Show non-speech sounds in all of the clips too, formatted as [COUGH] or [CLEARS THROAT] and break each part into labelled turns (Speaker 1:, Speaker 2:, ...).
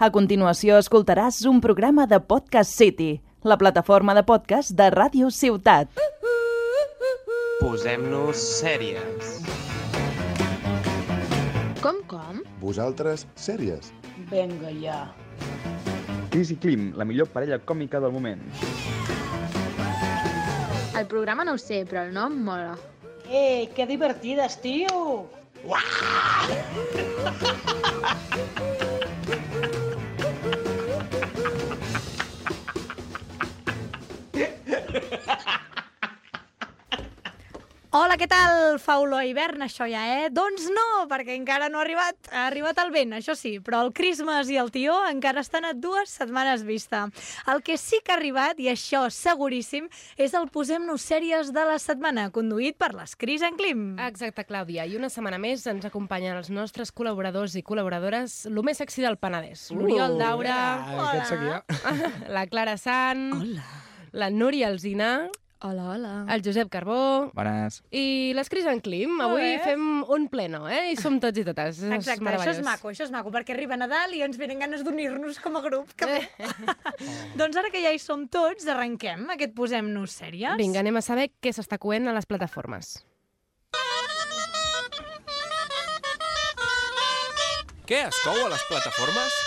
Speaker 1: A continuació escoltaràs un programa de Podcast City, la plataforma de podcast de Ràdio Ciutat.
Speaker 2: Posem-nos sèries.
Speaker 3: Com, com?
Speaker 4: Vosaltres, sèries.
Speaker 3: Venga ja.
Speaker 5: Cris i Klim, la millor parella còmica del moment.
Speaker 3: El programa no ho sé, però el nom mola. Eh,
Speaker 6: ¡Ey, qué divertidas, tío!
Speaker 7: Hola, què tal? Fa olor a hivern, això ja, eh? Doncs no, perquè encara no ha arribat. Ha arribat el vent, això sí, però el Christmas i el tió encara estan a dues setmanes vista. El que sí que ha arribat, i això seguríssim, és el Posem-nos sèries de la setmana, conduït per les Cris en Clim.
Speaker 8: Exacte, Clàudia. I una setmana més ens acompanyen els nostres col·laboradors i col·laboradores, el més sexy del Penedès. L'Oriol Daura,
Speaker 9: Uh, Ah, Aquest seguia.
Speaker 8: [LAUGHS] la Clara Sant, Hola. la Núria Alzina,
Speaker 7: Hola, hola.
Speaker 8: el Josep Carbó
Speaker 5: Bones.
Speaker 8: i les Cris en Clim. Avui fem un pleno, eh? I som tots i totes. És
Speaker 7: Exacte, això
Speaker 8: meravellós.
Speaker 7: és maco, això és maco, perquè arriba Nadal i ens venen ganes d'unir-nos com a grup. Que... [LAUGHS] doncs ara que ja hi som tots, arrenquem aquest Posem-nos sèries.
Speaker 8: Vinga, anem a saber què s'està coent a les plataformes.
Speaker 2: Què es cou a les plataformes?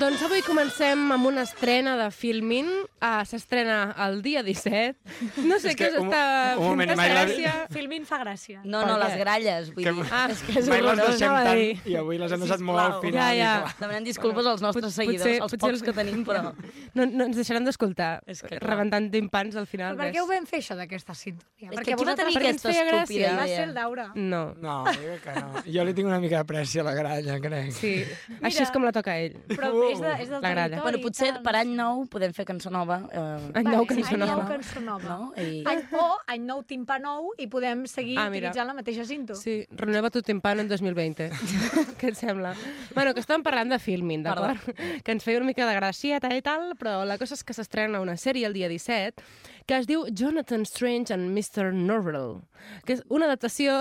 Speaker 8: Doncs avui comencem amb una estrena de Filmin. Uh, S'estrena el dia 17. No sé
Speaker 9: És que
Speaker 8: què us
Speaker 9: un-
Speaker 8: està
Speaker 9: un moment,
Speaker 8: fent
Speaker 9: mai l'havia-
Speaker 8: gràcia.
Speaker 7: Filmin fa gràcia.
Speaker 10: No, no,
Speaker 8: Per
Speaker 10: les
Speaker 8: què?
Speaker 10: gralles, vull dir.
Speaker 8: Ah, eh. és que és
Speaker 9: Mai les
Speaker 8: horrorós,
Speaker 9: deixem
Speaker 8: anava a
Speaker 9: tant
Speaker 8: dir.
Speaker 9: i avui les hem deixat molt
Speaker 10: Sisplau.
Speaker 9: al final.
Speaker 8: Ja, ja.
Speaker 9: i clar.
Speaker 10: Demanem disculpes als nostres
Speaker 8: pot-
Speaker 10: seguidors,
Speaker 8: potser-
Speaker 10: els
Speaker 8: potser
Speaker 10: pocs
Speaker 8: el-
Speaker 10: que tenim,
Speaker 8: [LAUGHS]
Speaker 10: però...
Speaker 8: No, no ens deixaran d'escoltar.
Speaker 10: És que clar.
Speaker 8: Rebentant timpans al final.
Speaker 7: Però per què
Speaker 8: ves.
Speaker 7: ho vam fer, això, d'aquesta sintonia?
Speaker 10: És que qui va
Speaker 7: vosaltres-
Speaker 10: tenir
Speaker 8: perquè ens
Speaker 10: aquesta
Speaker 8: feia
Speaker 10: estúpida
Speaker 8: gràcia.
Speaker 7: Va ser
Speaker 10: idea?
Speaker 7: el Daura.
Speaker 8: No.
Speaker 9: No, jo crec que no. Jo li tinc una mica de pressió a la gralla, crec.
Speaker 8: Sí.
Speaker 7: [LAUGHS]
Speaker 8: Això és com la toca a ell.
Speaker 7: Però és, de, és del
Speaker 8: La gralla.
Speaker 7: territori.
Speaker 10: Bueno, potser
Speaker 7: i tal,
Speaker 10: per
Speaker 7: no sé.
Speaker 10: any nou podem fer cançó nova. Eh,
Speaker 8: Any nou, cançó
Speaker 7: any nou,
Speaker 8: nova.
Speaker 7: cançó nova.
Speaker 10: No? I...
Speaker 7: Any, o any nou, timpà nou, i podem seguir
Speaker 8: Eh, Ah,
Speaker 7: ah,
Speaker 8: mira.
Speaker 7: utilitzant la mateixa cinto. Sí.
Speaker 8: Sí, renova tu timpano
Speaker 7: [LAUGHS]
Speaker 8: en 2020. Què et sembla? Bueno, que estàvem parlant de filming, d'acord? Que ens feia una mica de gràcia, tal i tal, però la cosa és que s'estrena una sèrie el dia 17 que es diu Jonathan Strange and Mr. Norrell, que és una adaptació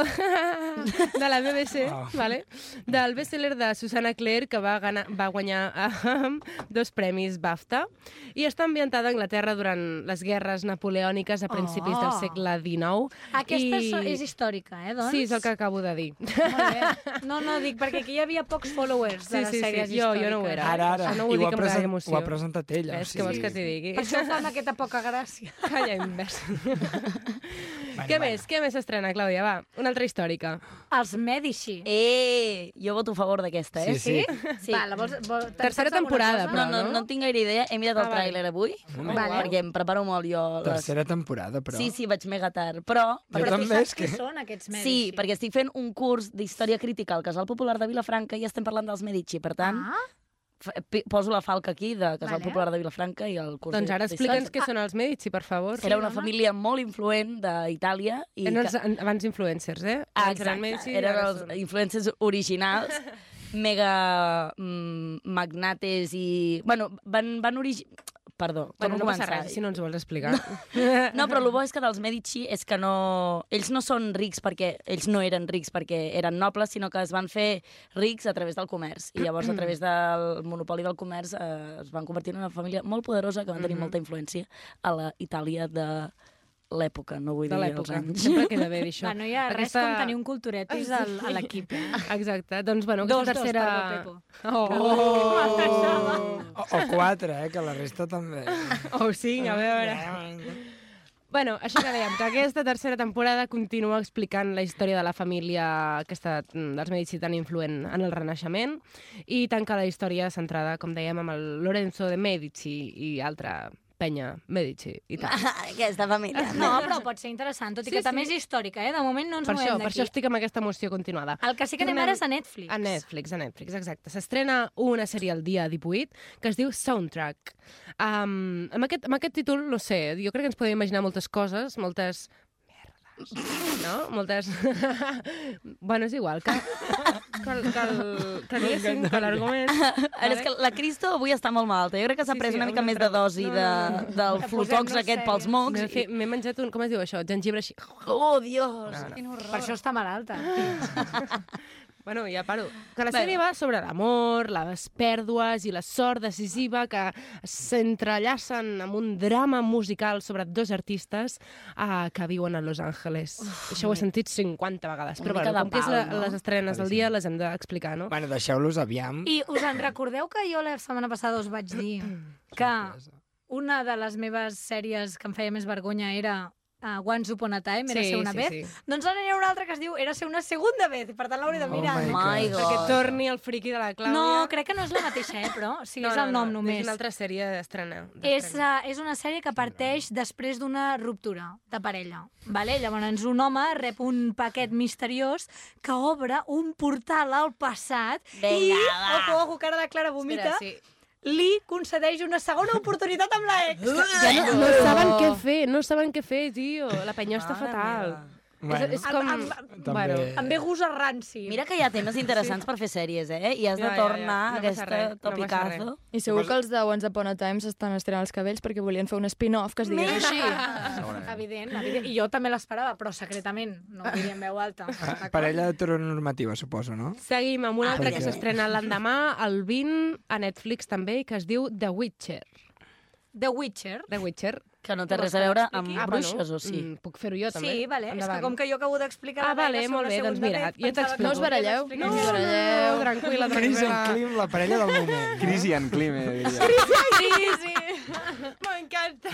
Speaker 8: [LAUGHS] de la BBC,
Speaker 7: Ah.
Speaker 9: Wow.
Speaker 8: vale? del best-seller de Susanna Clare, que va, gana, va guanyar ahem, dos premis BAFTA, i està ambientada a Anglaterra durant les guerres napoleòniques a principis del
Speaker 7: Oh.
Speaker 8: segle XIX.
Speaker 7: Aquesta
Speaker 8: I-
Speaker 7: I... és històrica, eh, doncs?
Speaker 8: Sí, és el que acabo de dir.
Speaker 7: Molt bé. No, no, dic, perquè aquí hi havia pocs followers de
Speaker 8: Sí,
Speaker 7: les
Speaker 8: sí, sí.
Speaker 7: sèries
Speaker 8: Jo-
Speaker 7: històriques.
Speaker 8: jo no ho era.
Speaker 9: Ara, ara.
Speaker 8: Això no ho
Speaker 9: I
Speaker 8: dic
Speaker 9: ho ha,
Speaker 8: amb gaire
Speaker 9: present,
Speaker 8: emoció.
Speaker 9: ho ha presentat ella.
Speaker 8: Ves, què vols que t'hi digui?
Speaker 7: Per això em fa amb aquesta poca gràcia.
Speaker 8: Calla, invers. [LAUGHS] Què més? Què més s'estrena, Clàudia? Va, una altra històrica.
Speaker 7: Els Medici.
Speaker 10: Eh, jo voto a favor d'aquesta, eh?
Speaker 9: Sí, sí.
Speaker 10: sí.
Speaker 7: Va, la vols, vols, te'n
Speaker 8: Tercera
Speaker 7: saps alguna
Speaker 8: temporada,
Speaker 7: cosa?
Speaker 10: No, no,
Speaker 8: no?
Speaker 10: no tinc gaire idea. He mirat
Speaker 8: Ah,
Speaker 10: el
Speaker 8: vale.
Speaker 10: tràiler avui,
Speaker 7: Vale.
Speaker 10: perquè em preparo molt jo. Les...
Speaker 9: Tercera temporada, però.
Speaker 10: Sí, sí, vaig mega tard. Però,
Speaker 9: Jo
Speaker 7: Però tu
Speaker 9: també
Speaker 7: saps
Speaker 9: és
Speaker 7: qui
Speaker 9: que-
Speaker 7: són aquests Medici?
Speaker 10: Sí, perquè estic fent un curs d'història crítica al Casal Popular de Vilafranca i estem parlant dels Medici, per tant,
Speaker 7: Ah,
Speaker 10: f- pi- poso la falca aquí de Casal
Speaker 7: Vale.
Speaker 10: Popular de Vilafranca i el curs
Speaker 8: Doncs ara
Speaker 10: d'història.
Speaker 8: explica'ns què són els Medici, per favor. Eh,
Speaker 10: Era una
Speaker 7: home.
Speaker 10: família molt influent d'Itàlia i
Speaker 8: Eren els
Speaker 10: que-
Speaker 8: an- abans influencers, eh?
Speaker 10: Ah,
Speaker 8: Abans
Speaker 10: exacte,
Speaker 8: Eren Medici,
Speaker 10: eren
Speaker 8: ara
Speaker 10: els
Speaker 8: són.
Speaker 10: influencers
Speaker 8: [LAUGHS]
Speaker 10: originals, mega mm, magnates i... Bueno, van, van origi... Perdó,
Speaker 8: Bueno,
Speaker 10: torno
Speaker 8: no
Speaker 10: a
Speaker 8: passa
Speaker 10: començar. eh.
Speaker 8: res, si no ens ho vols [LAUGHS] explicar.
Speaker 10: No,
Speaker 8: [LAUGHS]
Speaker 10: però el bo és que dels Medici és que no... Ells no són rics perquè... Ells no eren rics perquè eren nobles, sinó que es van fer rics a través del comerç. I
Speaker 8: [CLEARS THROAT]
Speaker 10: llavors, a través del monopoli del comerç, eh, es van convertir en una família molt poderosa que van tenir molta influència a la Itàlia de l'època, no vull
Speaker 8: De
Speaker 10: dir els
Speaker 8: l'època.
Speaker 10: anys.
Speaker 8: [LAUGHS] Sempre queda bé,
Speaker 10: [LAUGHS]
Speaker 8: dir això.
Speaker 7: va, no hi ha res
Speaker 8: Aquesta-
Speaker 7: com
Speaker 8: [LAUGHS]
Speaker 7: tenir un culturetis al, a l'equip. eh?
Speaker 8: Exacte. Doncs, bueno,
Speaker 7: Dos, dos,
Speaker 8: aquesta tercera...
Speaker 7: perdó,
Speaker 8: Oh,
Speaker 9: O, o quatre, eh, que la resta també.
Speaker 8: [LAUGHS] oh, cinc, a veure. Bueno, això que dèiem, que aquesta tercera temporada continua explicant la història de la família aquesta, mm, dels Medici tan influent en el Renaixement i tanca la història centrada, com dèiem, amb el Lorenzo de Medici i altra penya Medici i
Speaker 7: Ah,
Speaker 8: tal.
Speaker 10: Ah, Aquesta família.
Speaker 7: No, però pot ser interessant, tot i
Speaker 8: Sí,
Speaker 7: que també
Speaker 8: sí.
Speaker 7: és històrica, eh? De moment no ens
Speaker 8: Per això,
Speaker 7: movem
Speaker 8: per això
Speaker 7: d'aquí.
Speaker 8: estic amb aquesta emoció continuada.
Speaker 7: El que sí que anem
Speaker 8: Tornem
Speaker 7: ara és a Netflix.
Speaker 8: A Netflix, a Netflix, exacte. S'estrena una sèrie el dia 18 que es diu Soundtrack. Um, amb, aquest, amb aquest títol, no sé, jo crec que ens podem imaginar moltes coses, moltes no? Moltes... [LAUGHS] bueno, és igual, que, que, el- que, el- que anéssim, que l'argument...
Speaker 10: Ara [LAUGHS] és que la Cristo avui està molt malta. Jo crec que s'ha pres una mica més de dosi de, del flotox aquest pels mocs.
Speaker 8: M'he
Speaker 10: i-
Speaker 8: m'he menjat un, com es diu això, gengibre així.
Speaker 10: Oh, Dios!
Speaker 9: Ah,
Speaker 8: No, no.
Speaker 10: Quin horror.
Speaker 7: Per això està malalta.
Speaker 8: Mm. Bueno, ja paro. Que la sèrie va sobre l'amor, les pèrdues i la sort decisiva que s'entrellacen amb un drama musical sobre dos artistes eh, que viuen a Los Angeles. Això ho he sentit 50 vegades.
Speaker 10: Una
Speaker 8: Però
Speaker 10: mica
Speaker 8: bueno,
Speaker 10: de
Speaker 8: com que és la,
Speaker 10: pal, no?
Speaker 8: les estrenes del dia, les hem d'explicar, no?
Speaker 9: Bueno, deixeu-los aviam.
Speaker 7: I us en recordeu que jo la setmana passada us vaig dir que
Speaker 8: Ah.
Speaker 7: una de les meves sèries que em feia més vergonya era uh, Once Upon a Time, era ser una vez.
Speaker 8: sí.
Speaker 7: Doncs ara n'hi ha una altra que es diu Era ser una segunda vez, i per tant l'hauré de
Speaker 9: Oh
Speaker 7: mirar.
Speaker 9: my
Speaker 10: My
Speaker 9: God.
Speaker 8: Que
Speaker 10: God.
Speaker 8: torni el friki de la Clàudia.
Speaker 7: no, crec que no és la mateixa, eh, però. O sigui, no, és el nom
Speaker 8: no,
Speaker 7: només.
Speaker 8: És una altra sèrie d'estrena.
Speaker 7: És, uh, és una sèrie que parteix després d'una ruptura de parella. Vale? Llavors, un home rep un paquet misteriós que obre un portal al passat i,
Speaker 10: Vinga, va.
Speaker 7: ojo, ojo, cara de Clara vomita,
Speaker 8: Espera, sí.
Speaker 7: li concedeix una segona oportunitat amb la ex.
Speaker 8: Ja no, no saben què fer, no saben què fer, tio. La penyó està
Speaker 10: Mare
Speaker 8: fatal.
Speaker 10: meva.
Speaker 9: Bueno,
Speaker 8: és, és com...
Speaker 7: Amb- amb-
Speaker 9: també-
Speaker 7: Em ve gust a ranci.
Speaker 10: Mira que hi ha temes interessants per fer sèries, eh? I has de
Speaker 8: Ja, ja, ja.
Speaker 10: tornar
Speaker 8: No
Speaker 10: a
Speaker 8: passa
Speaker 10: aquesta
Speaker 8: res, no passa
Speaker 10: topicazo.
Speaker 8: res.
Speaker 11: I segur que els de Once Upon a Time s'estan estirant els cabells perquè volien fer un spin-off que es digués així.
Speaker 5: Segurament.
Speaker 7: Evident, evident. I jo també l'esperava, però secretament. No ho diria en veu alta.
Speaker 9: Ah, Parella heteronormativa, suposo, no?
Speaker 8: Seguim amb
Speaker 10: Ah,
Speaker 8: una altra
Speaker 9: perquè-
Speaker 8: que s'estrena l'endemà, el 20, a Netflix també, que es diu The Witcher.
Speaker 7: The Witcher.
Speaker 8: The Witcher.
Speaker 10: Que no té res a veure amb
Speaker 8: Ah,
Speaker 10: bruixes, o sí?
Speaker 8: mm, Puc fer-ho jo, també?
Speaker 7: Sí, vale. És que
Speaker 8: Endavant.
Speaker 7: com que jo acabo d'explicar...
Speaker 8: Ah, vale, molt bé, doncs mira, jo t'explico.
Speaker 11: No us baralleu?
Speaker 8: No,
Speaker 11: us
Speaker 8: no, no,
Speaker 11: baralleu.
Speaker 8: tranquil·la,
Speaker 9: Cris
Speaker 8: tranquil·la.
Speaker 9: and Clim, la parella del moment.
Speaker 5: Crisi en clima, diria.
Speaker 7: Sí, sí.
Speaker 8: [LAUGHS] M'encanta.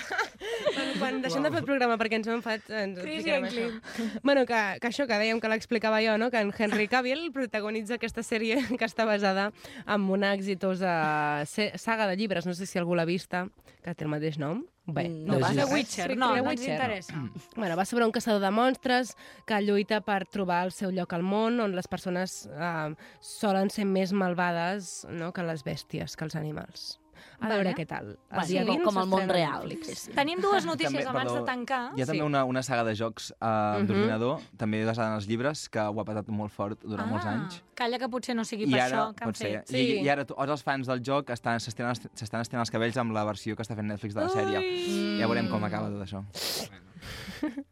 Speaker 8: Quan, quan deixem de fer el programa perquè ens hem enfat, ens
Speaker 7: Crisi
Speaker 8: explicarem
Speaker 7: en
Speaker 8: això. Bueno, que, que això que dèiem que l'explicava jo, no? que en Henry Cavill protagonitza aquesta sèrie que està basada en una exitosa se- saga de llibres, no sé si algú l'ha vista, que té el mateix nom. Bé,
Speaker 10: Mm,
Speaker 8: no,
Speaker 9: no,
Speaker 8: passa
Speaker 9: sí.
Speaker 7: The
Speaker 8: res.
Speaker 7: Witcher, no,
Speaker 8: The
Speaker 7: no ens
Speaker 8: Witcher.
Speaker 7: interessa.
Speaker 5: Mm.
Speaker 8: Bueno, va sobre un caçador de monstres que lluita per trobar el seu lloc al món on les persones eh, solen ser més malvades no, que les bèsties, que els animals. A
Speaker 7: Vale.
Speaker 8: veure què tal.
Speaker 10: Bueno,
Speaker 8: dia
Speaker 10: com-
Speaker 8: vint
Speaker 10: com el món
Speaker 8: s'estrena a
Speaker 10: real.
Speaker 8: Netflix.
Speaker 7: Tenim dues notícies
Speaker 5: També,
Speaker 7: abans
Speaker 5: perdó,
Speaker 7: de tancar.
Speaker 5: Hi ha també
Speaker 8: Sí.
Speaker 5: una, una saga de jocs eh, uh
Speaker 8: Mhm.
Speaker 5: d'ordinador, també basada en els llibres, que ho ha patat molt fort durant molts anys.
Speaker 7: Ah, Calla, que potser no sigui per això que han
Speaker 5: pot ser.
Speaker 7: fet.
Speaker 5: I,
Speaker 8: Sí.
Speaker 5: I ara tots els fans del joc estan- s'estiren els- s'estan estirant els cabells amb la versió que està fent Netflix de la sèrie. Mm. Ja veurem com acaba tot això.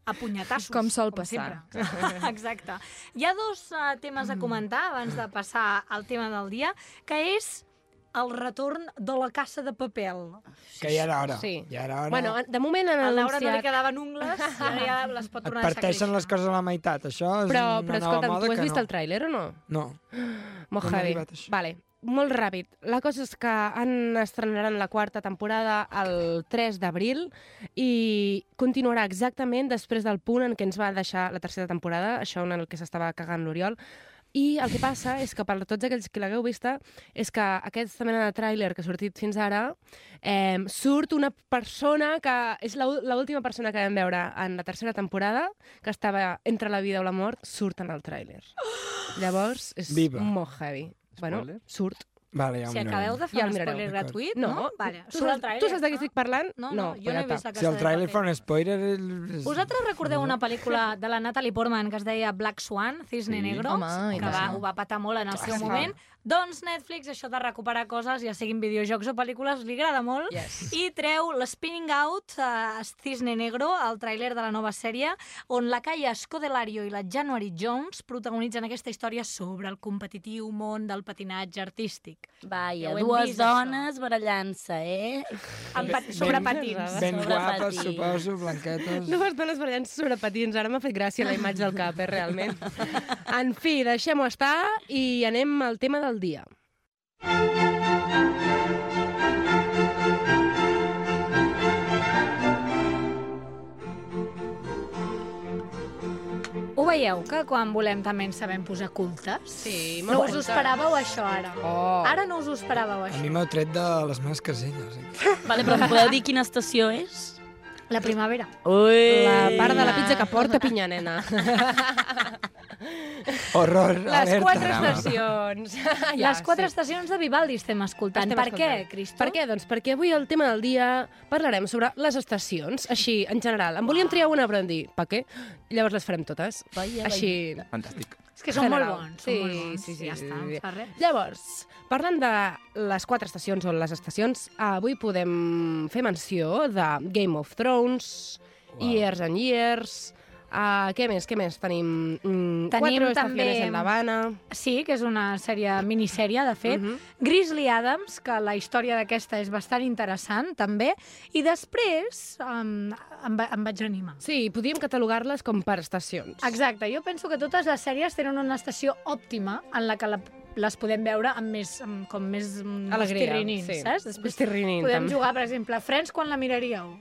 Speaker 7: A punyetassos.
Speaker 11: Com sol passar.
Speaker 7: sempre. [LAUGHS] Exacte. Hi ha dos uh, temes a comentar abans de passar al tema del dia, que és el retorn de la caça de papel.
Speaker 9: Que ja era hora.
Speaker 8: Sí.
Speaker 9: Ja era hora.
Speaker 8: Bueno, de moment han
Speaker 7: A Laura no li
Speaker 8: anunciat...
Speaker 7: quedaven ungles, i ara ja les pot
Speaker 9: Et
Speaker 7: tornar a deixar créixer.
Speaker 9: parteixen les coses a la meitat. Això és una
Speaker 8: Però,
Speaker 9: nova
Speaker 8: però escolta'm,
Speaker 9: moda
Speaker 8: tu has
Speaker 9: que
Speaker 8: vist
Speaker 9: no.
Speaker 8: el tràiler o no?
Speaker 9: No.
Speaker 8: Molt
Speaker 9: No m'ha
Speaker 8: heavy.
Speaker 9: arribat, això.
Speaker 8: Vale, molt ràpid. La cosa és que han estrenaran la quarta temporada el 3 d'abril i continuarà exactament després del punt en què ens va deixar la tercera temporada, això en el que s'estava cagant l'Oriol, i el que passa és que per tots aquells que l'hagueu vista és que aquesta mena de tràiler que ha sortit fins ara eh, surt una persona que és l'ú- l'última persona que vam veure en la tercera temporada que estava entre la vida o la mort surt en
Speaker 7: [GASPS]
Speaker 8: el tràiler. Llavors és
Speaker 9: Viva.
Speaker 8: molt heavy. Bueno,
Speaker 5: Spoiler?
Speaker 8: surt.
Speaker 9: Vale, ja ho
Speaker 7: Si
Speaker 9: mirarem.
Speaker 7: acabeu de
Speaker 8: Ja
Speaker 7: fer
Speaker 8: el
Speaker 7: un
Speaker 8: mirareu,
Speaker 7: spoiler
Speaker 9: d'acord.
Speaker 7: gratuït,
Speaker 8: No,
Speaker 7: no? Vale.
Speaker 8: tu,
Speaker 7: Surt el
Speaker 8: saps,
Speaker 7: trailer,
Speaker 8: tu saps de què estic parlant?
Speaker 7: No, no, jo no he vist la
Speaker 9: Si
Speaker 7: caça
Speaker 9: el
Speaker 7: de
Speaker 9: tràiler
Speaker 7: papel.
Speaker 9: fa un spoiler... el-
Speaker 7: Vosaltres recordeu una pel·lícula de la Natalie Portman que es deia Black Swan, Cisne
Speaker 5: Sí.
Speaker 7: Negro,
Speaker 11: Home, i
Speaker 7: que va,
Speaker 11: tant.
Speaker 7: ho va patar molt en el seu
Speaker 8: sí.
Speaker 7: moment? Doncs Netflix, això de recuperar coses, ja siguin videojocs o pel·lícules, li agrada molt.
Speaker 8: Yes.
Speaker 7: I treu l'Spinning Out, eh, Cisne Negro, el tràiler de la nova sèrie, on la Kaya Scodelario i la January Jones protagonitzen aquesta història sobre el competitiu món del patinatge artístic.
Speaker 10: Vaja,
Speaker 7: Ja ho hem
Speaker 10: dues
Speaker 7: vist,
Speaker 10: dones barallant-se, eh?
Speaker 7: En pat-
Speaker 10: Ben-
Speaker 7: sobre patins.
Speaker 9: Ben
Speaker 10: sobre
Speaker 9: guapes,
Speaker 10: patins.
Speaker 9: suposo, blanquetes...
Speaker 8: Dues dones ballant sobre patins. Ara m'ha fet gràcia la imatge del cap, eh, realment.
Speaker 7: [LAUGHS]
Speaker 8: En fi, deixem-ho estar i anem al tema del dia.
Speaker 7: Ho veieu, que quan volem també ens sabem posar cultes?
Speaker 8: Sí,
Speaker 7: No us ho esperàveu, això, ara.
Speaker 8: Oh.
Speaker 7: Ara no us ho esperàveu,
Speaker 9: A
Speaker 7: això.
Speaker 9: mi m'heu tret de les meves caselles. Eh?
Speaker 10: Vale, però em podeu dir quina estació és?
Speaker 7: La primavera.
Speaker 10: Ui!
Speaker 8: La part de la pizza que porta pinya, nena.
Speaker 9: Horror,
Speaker 8: [LAUGHS] Les
Speaker 9: alerta.
Speaker 8: quatre [LAUGHS] estacions.
Speaker 7: Ah, Ja, Les quatre sí. estacions de Vivaldi estem escoltant.
Speaker 8: Estem
Speaker 7: per
Speaker 8: escoltant.
Speaker 7: què, Cristo?
Speaker 8: Per què? Doncs perquè avui el tema del dia parlarem sobre les estacions, així, en general. En volíem triar una, però vam dir, per què? Llavors les farem totes.
Speaker 7: Vaya,
Speaker 8: així...
Speaker 5: Fantàstic.
Speaker 7: És que són molt
Speaker 8: general.
Speaker 7: bons, són molt bons.
Speaker 8: Sí, sí, sí.
Speaker 7: Ja està, no es fa res.
Speaker 8: Llavors, parlant de les quatre estacions o les estacions, avui podem fer menció de Game of Thrones, Years and Years... Uh, què més, què més? Tenim, mm, quatre estaciones en La Habana... Mhm.
Speaker 7: Sí, que és una sèrie, minissèrie, de fet. Grizzly Adams, que la història d'aquesta és bastant interessant, també. I després um, em, va, em vaig animar.
Speaker 8: Sí, podíem catalogar-les com per estacions.
Speaker 7: Exacte, jo penso que totes les sèries tenen una estació òptima en la que la, les podem veure amb més, amb, com més mm,
Speaker 8: Alegria,
Speaker 7: estirrinins,
Speaker 8: sí.
Speaker 7: saps? Després
Speaker 8: Estirrinin,
Speaker 7: podem
Speaker 8: també.
Speaker 7: jugar, per exemple, a Friends quan la miraríeu?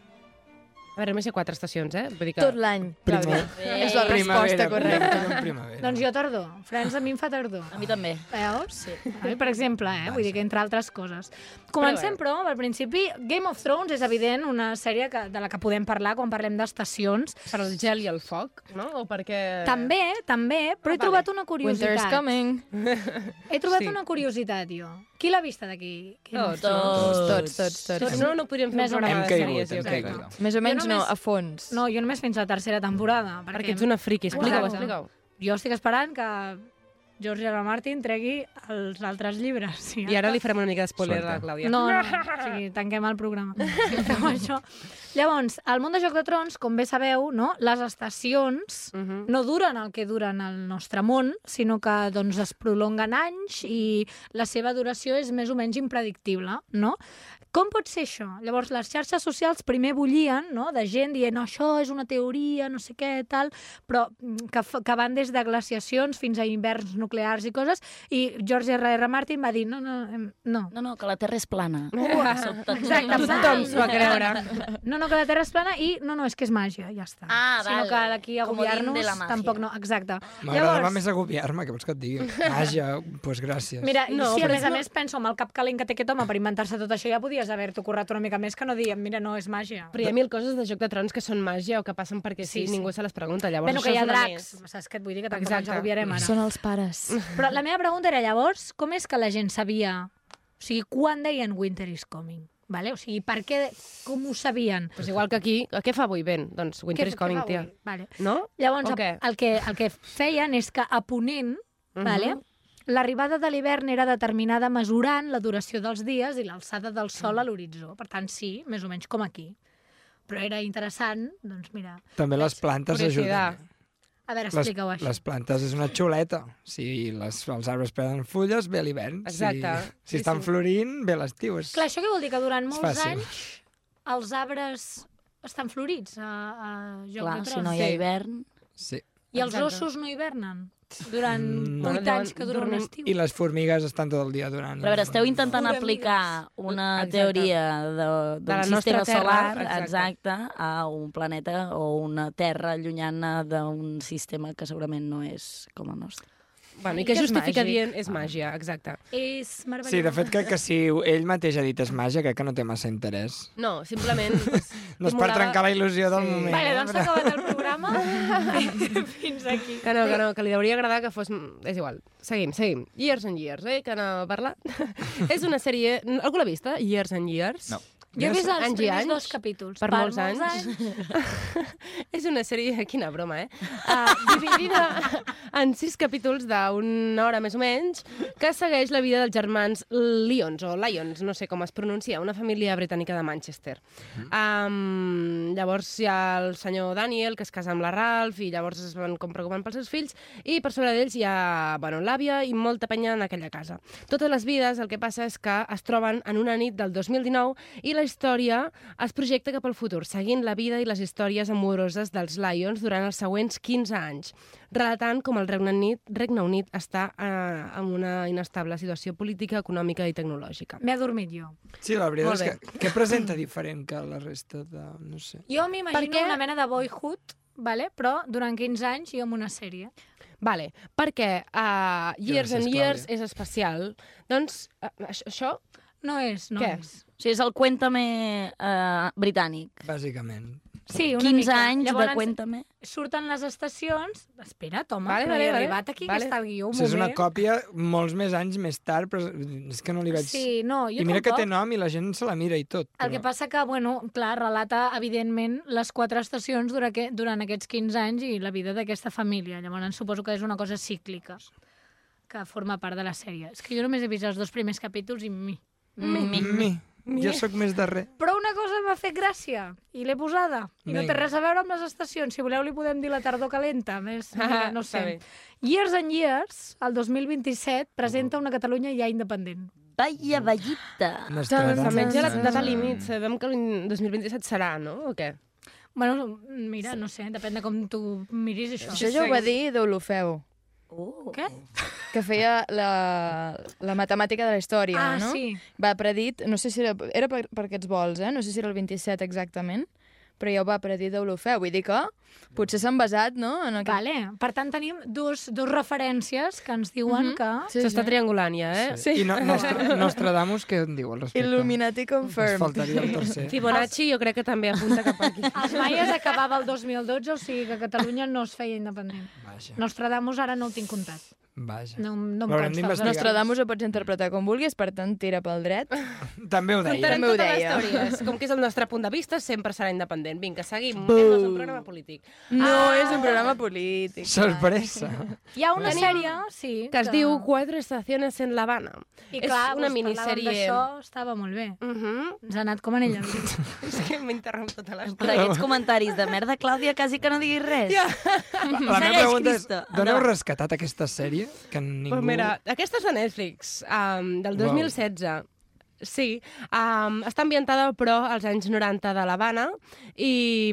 Speaker 8: A veure, només hi ha quatre estacions, eh? Vull dir que...
Speaker 11: Tot l'any. Clàudia.
Speaker 8: Primavera.
Speaker 11: És la resposta
Speaker 8: Primavera, primavera,
Speaker 11: correcta.
Speaker 8: primavera.
Speaker 7: Doncs jo tardor. Friends a mi em fa tardor. A
Speaker 10: mi també.
Speaker 7: Veus? Sí. A mi, per exemple, eh? Vull dir que entre altres coses. Comencem, però, al principi, Game of Thrones és evident una sèrie que, de la que podem parlar quan parlem d'estacions.
Speaker 8: Per el gel i el foc, no? O perquè...
Speaker 7: També, també, però he trobat una curiositat.
Speaker 11: Winter's coming.
Speaker 7: He trobat
Speaker 8: Sí.
Speaker 7: una curiositat, jo. Qui l'ha vista d'aquí? Game of
Speaker 8: Tots,
Speaker 7: Thrones?
Speaker 11: Tots, tots, tots.
Speaker 8: Tots no, no podríem fer
Speaker 7: Més o
Speaker 8: un programa
Speaker 7: menys.
Speaker 8: de
Speaker 7: Hem
Speaker 8: sèries,
Speaker 7: caigut,
Speaker 8: jo
Speaker 7: hem
Speaker 8: crec.
Speaker 7: caigut.
Speaker 11: Més o menys
Speaker 7: només-
Speaker 11: no, a fons.
Speaker 7: No, jo només fins la tercera temporada. Perquè,
Speaker 8: Perquè ets una friki, explica-ho, explica-ho.
Speaker 7: Jo estic esperant que George R. R. Martin tregui els altres llibres. [LAUGHS] Sí,
Speaker 8: I ara li farem una mica d'espoiler a la Clàudia. [LAUGHS]
Speaker 7: No, no, o sigui, tanquem el programa. Si fem això. Llavors, al món de Joc de Trons, com bé sabeu, no? les estacions uh -huh.
Speaker 8: Mhm.
Speaker 7: no duren el que duren al nostre món, sinó que doncs, es prolonguen anys i la seva duració és més o menys impredictible, no? Com pot ser això? Llavors, les xarxes socials primer bullien no? de gent dient no, això és una teoria, no sé què, tal, però mm, que, fa- que van des de glaciacions fins a inverns nuclears i coses, i George R. R. Martin va dir no, no, em, no,
Speaker 10: No, no, que la Terra és plana.
Speaker 7: Uah,
Speaker 10: Sobte-
Speaker 7: Exacte,
Speaker 8: Tothom s'ho va creure.
Speaker 7: [LAUGHS] No, no, que la Terra és plana i no, no, és que és màgia, ja està.
Speaker 10: Ah,
Speaker 7: Sinó
Speaker 10: vale.
Speaker 7: que d'aquí a
Speaker 10: Comodín de
Speaker 7: agobiar-nos
Speaker 10: la màgia.
Speaker 7: tampoc no, exacte.
Speaker 9: M'agradava més agobiar-me, que vols que et
Speaker 8: [LAUGHS]
Speaker 9: digui? Vaja, doncs pues gràcies.
Speaker 7: Mira, no,
Speaker 8: No,
Speaker 7: si a
Speaker 8: però
Speaker 7: més
Speaker 8: és
Speaker 7: a
Speaker 8: no-
Speaker 7: més penso amb el cap calent que té aquest home per inventar-se tot això, ja podies haver-t'ho currat una mica més que no diem, mira, no, és màgia.
Speaker 8: Però hi ha mil coses de Joc de Trons que són màgia o que passen perquè sí,
Speaker 7: Sí, sí.
Speaker 8: ningú se les pregunta. Llavors,
Speaker 7: Bueno,
Speaker 8: això
Speaker 7: que hi ha
Speaker 8: és una
Speaker 7: dracs, saps què et vull dir? Que tampoc
Speaker 8: Exacte.
Speaker 7: ens agobiarem ara.
Speaker 11: Són els pares.
Speaker 7: [LAUGHS] Però la meva pregunta era llavors, com és que la gent sabia... O sigui, quan deien Winter is coming? Vale? O sigui, per què... Com ho sabien?
Speaker 8: Pues igual que aquí, què fa avui vent? Doncs Winter
Speaker 7: Què-
Speaker 8: is
Speaker 7: què
Speaker 8: coming,
Speaker 7: fa
Speaker 8: tia.
Speaker 7: avui? Vale.
Speaker 8: No?
Speaker 7: Llavors,
Speaker 8: O què?
Speaker 7: el, que, el que feien és que a Ponent, uh -huh.
Speaker 8: Mhm.
Speaker 7: vale, l'arribada de l'hivern era determinada mesurant la duració dels dies i l'alçada del sol a l'horitzó. Per tant, sí, més o menys com aquí. Però era interessant, doncs mira...
Speaker 9: També les plantes
Speaker 8: Curiositat.
Speaker 9: ajuden.
Speaker 7: A veure,
Speaker 9: Les,
Speaker 7: explica-ho això.
Speaker 9: les plantes és una xuleta. Si les, els arbres perden fulles, ve l'hivern. Si,
Speaker 8: Exacte.
Speaker 9: si
Speaker 8: Sí,
Speaker 9: estan
Speaker 8: sí.
Speaker 9: florint, ve l'estiu. És...
Speaker 7: Clar, això què vol dir? Que durant molts
Speaker 9: fàcil.
Speaker 7: anys els arbres estan florits a, a Joc
Speaker 10: Clar,
Speaker 7: de Trons.
Speaker 10: si no hi ha
Speaker 8: Sí.
Speaker 10: hivern...
Speaker 9: Sí.
Speaker 7: I els
Speaker 8: Exacte.
Speaker 7: ossos no hivernen durant
Speaker 9: Mm, No,
Speaker 7: 8
Speaker 8: no,
Speaker 7: anys que dura un
Speaker 8: dormim-
Speaker 7: estiu.
Speaker 9: I les formigues estan tot el dia donant.
Speaker 10: Però a veure, esteu intentant
Speaker 8: Hormigues.
Speaker 10: aplicar una
Speaker 8: Exacte.
Speaker 10: teoria de-
Speaker 8: De
Speaker 10: d'un
Speaker 8: la nostra
Speaker 10: sistema
Speaker 8: Terra,
Speaker 10: solar
Speaker 8: exacte.
Speaker 10: exacte. a un planeta o una terra llunyana d'un sistema que segurament no és com el nostre.
Speaker 8: Bueno, I
Speaker 7: Ai,
Speaker 8: que
Speaker 7: que és
Speaker 8: justifica
Speaker 7: màgic.
Speaker 8: dient és màgia, exacte.
Speaker 7: És meravellós.
Speaker 9: Sí, de fet, crec que si ell mateix ha dit és màgia, crec que no té massa interès.
Speaker 8: No,
Speaker 9: [LAUGHS]
Speaker 8: simplement...
Speaker 9: No és per trencar la il·lusió del
Speaker 8: Sí.
Speaker 9: moment.
Speaker 7: Vale,
Speaker 9: eh?
Speaker 7: doncs s'ha acabat el
Speaker 9: [LAUGHS]
Speaker 7: programa. Fins aquí.
Speaker 8: Que no, que no, que li hauria agradar que fos... És igual. Seguim, seguim. Years and Years, eh? Que no
Speaker 9: [LAUGHS]
Speaker 8: parla. és una sèrie... Algú l'ha vista? Years and Years?
Speaker 5: No.
Speaker 7: Jo he vist els
Speaker 8: Anys i
Speaker 7: primers
Speaker 8: anys?
Speaker 7: dos capítols.
Speaker 8: Per molts anys. [LAUGHS] és una sèrie... [LAUGHS] Quina broma, eh? Uh, dividida [LAUGHS] en sis capítols d'una hora més o menys, que segueix la vida dels germans Lyons, o Lyons, no sé com es pronuncia, una família britànica de Manchester. Um, llavors hi ha el senyor Daniel, que es casa amb la Ralph, i llavors es van com preocupant pels seus fills, i per sobre d'ells hi ha bueno, l'àvia i molta penya en aquella casa. Totes les vides el que passa és que es troben en una nit del 2019 i la història es projecta cap al futur, seguint la vida i les històries amoroses dels Lions durant els següents 15 anys, relatant com el Regne Unit, Regne Unit està eh, en una inestable situació política, econòmica i tecnològica.
Speaker 7: M'he adormit jo.
Speaker 9: Sí, la
Speaker 8: Molt
Speaker 9: veritat
Speaker 8: bé.
Speaker 9: és que, que presenta diferent que la resta de... No sé.
Speaker 7: Jo
Speaker 8: Per què?
Speaker 7: m'imagino una mena de boyhood, vale? però durant 15 anys i amb una sèrie.
Speaker 8: Vale, perquè uh,
Speaker 9: Gràcies,
Speaker 8: Years and Years
Speaker 9: Clàudia.
Speaker 8: és especial. Doncs uh, això...
Speaker 7: No és, no
Speaker 8: Què?
Speaker 7: és.
Speaker 10: O sigui, és el cuéntame eh, britànic.
Speaker 9: Bàsicament.
Speaker 7: Sí, una
Speaker 10: 15
Speaker 7: mica.
Speaker 10: anys
Speaker 7: Llavors,
Speaker 10: de Cuéntame.
Speaker 7: Surten les estacions... Espera't, home, vale,
Speaker 8: Vale,
Speaker 7: però
Speaker 8: vale,
Speaker 7: vale, he
Speaker 8: vale.
Speaker 7: arribat aquí,
Speaker 8: Vale.
Speaker 7: que està el guió, un
Speaker 9: Si és una
Speaker 7: moment.
Speaker 9: còpia molts més anys més tard, però és que no li vaig...
Speaker 7: Sí, no, jo
Speaker 9: I mira
Speaker 7: tampoc.
Speaker 9: que té nom i la gent se la mira i tot.
Speaker 7: El que passa que, bueno, clar, relata, evidentment, les quatre estacions durant, que, durant aquests 15 anys i la vida d'aquesta família. Llavors, suposo que és una cosa cíclica que forma part de la sèrie. És que jo només he vist els dos primers capítols i mi.
Speaker 9: Mi.
Speaker 8: Mm.
Speaker 9: Mi. Jo sóc més darrer.
Speaker 7: Però una cosa m'ha fet gràcia, i l'he posada. I no té
Speaker 9: Vinga.
Speaker 7: res a veure amb les estacions. Si voleu, li podem dir la tardor calenta. Més, mira, no
Speaker 8: Està bé.
Speaker 7: sé. Years and Years, el 2027, presenta una Catalunya ja independent.
Speaker 10: Vaya ballita!
Speaker 8: Doncs Almenys la data límit, sabem que l'any 2027 serà, no? O què?
Speaker 7: Bueno, mira, no sé, depèn de com tu miris això.
Speaker 8: Doncs
Speaker 11: Això ja ho va dir Deulofeu.
Speaker 10: Oh.
Speaker 7: Què?
Speaker 11: que feia la, la matemàtica de la història,
Speaker 7: Ah,
Speaker 11: no?
Speaker 7: sí.
Speaker 11: Va predit, no sé si era, era per, per aquests vols, eh? no sé si era el 27 exactament, però ja ho va predir d'Olofeu, vull dir que potser s'han basat, no? En aquest...
Speaker 7: Vale. Per tant, tenim dos, dos referències que ens diuen mm -hmm. que...
Speaker 11: Sí,
Speaker 8: S'està
Speaker 11: sí.
Speaker 8: triangulant ja, eh?
Speaker 11: Sí.
Speaker 9: I no, Nostra, Nostradamus, què en diu al respecte?
Speaker 11: Illuminati
Speaker 9: Ens
Speaker 11: confirmed.
Speaker 9: faltaria el tercer.
Speaker 8: [LAUGHS] Fibonacci jo crec que també apunta cap aquí.
Speaker 7: [LAUGHS] Els maies acabava el 2012, o sigui que Catalunya no es feia independent.
Speaker 9: Vaja,
Speaker 7: Nostradamus ara no el tinc comptat.
Speaker 8: Mm.
Speaker 9: vaja.
Speaker 7: No, no em
Speaker 9: L'haurem
Speaker 7: consta. els
Speaker 9: d'investigar.
Speaker 11: Nostradamus ho pots interpretar com vulguis, per tant, tira pel dret.
Speaker 9: També ho deia.
Speaker 8: Contarem
Speaker 11: També ho
Speaker 8: totes les
Speaker 11: deia.
Speaker 8: teories. Com que és el nostre punt de vista, sempre serà independent. Vinga, seguim. Hem un programa polític.
Speaker 11: No, és un programa polític.
Speaker 9: Sorpresa.
Speaker 7: Hi ha una
Speaker 8: Tenim-
Speaker 7: sèrie, sí,
Speaker 8: Que es diu Quatre estaciones en La Habana.
Speaker 7: I
Speaker 8: és
Speaker 7: clar,
Speaker 8: una
Speaker 7: doncs,
Speaker 8: minissèrie...
Speaker 7: parlàvem d'això, estava molt bé.
Speaker 8: Uh -huh.
Speaker 7: Ens ha anat com en
Speaker 8: [LAUGHS]
Speaker 7: ella.
Speaker 8: És que m'interromp tota
Speaker 10: Per
Speaker 8: l'estona.
Speaker 9: [LAUGHS]
Speaker 10: aquests comentaris de merda, Clàudia, quasi que no diguis res. [LAUGHS] Ja.
Speaker 9: La, la meva
Speaker 10: Segueix,
Speaker 9: pregunta és,
Speaker 10: Cristo.
Speaker 9: d'on heu
Speaker 10: Endavant.
Speaker 9: rescatat aquesta sèrie? Que ningú...
Speaker 8: Pues mira, aquesta és de Netflix, um, del
Speaker 9: Uau.
Speaker 8: 2016. Sí, um, està ambientada, però, als anys 90 de l'Havana i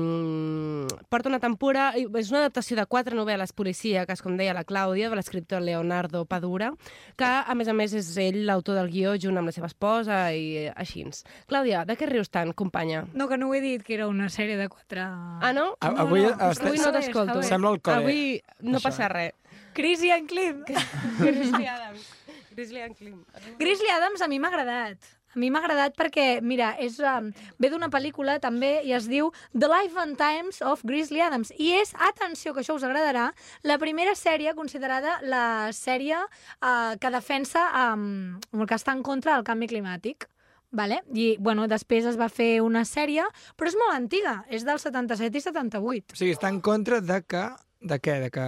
Speaker 8: mm, porta una tempora... i És una adaptació de quatre novel·les policíaques, com deia la Clàudia, de l'escriptor Leonardo Padura, que, a més a més, és ell l'autor del guió junt amb la seva esposa i eh, així. Clàudia, de què rius tant, companya?
Speaker 7: No, que no ho he dit, que era una sèrie de quatre...
Speaker 8: Ah, no?
Speaker 9: A- avui
Speaker 7: no,
Speaker 9: no,
Speaker 8: Avui no
Speaker 7: està bé,
Speaker 8: t'escolto.
Speaker 7: està bé.
Speaker 9: Sembla el col·le.
Speaker 8: Avui no
Speaker 9: Això,
Speaker 8: passa
Speaker 9: eh?
Speaker 8: res.
Speaker 9: [LAUGHS]
Speaker 7: Chris i en Clint.
Speaker 8: Grizzly Adams. Grizzly and Clim.
Speaker 7: Grizzly Adams a mi m'ha agradat. A mi m'ha agradat perquè, mira, és, um, ve d'una pel·lícula també i es diu The Life and Times of Grizzly Adams. I és, atenció, que això us agradarà, la primera sèrie considerada la sèrie uh, que defensa um, el que està en contra del canvi climàtic. Vale? I, bueno, després es va fer una sèrie, però és molt antiga, és del 77 i
Speaker 9: O
Speaker 7: 78.
Speaker 9: sigui, està en contra de que... De què? De que...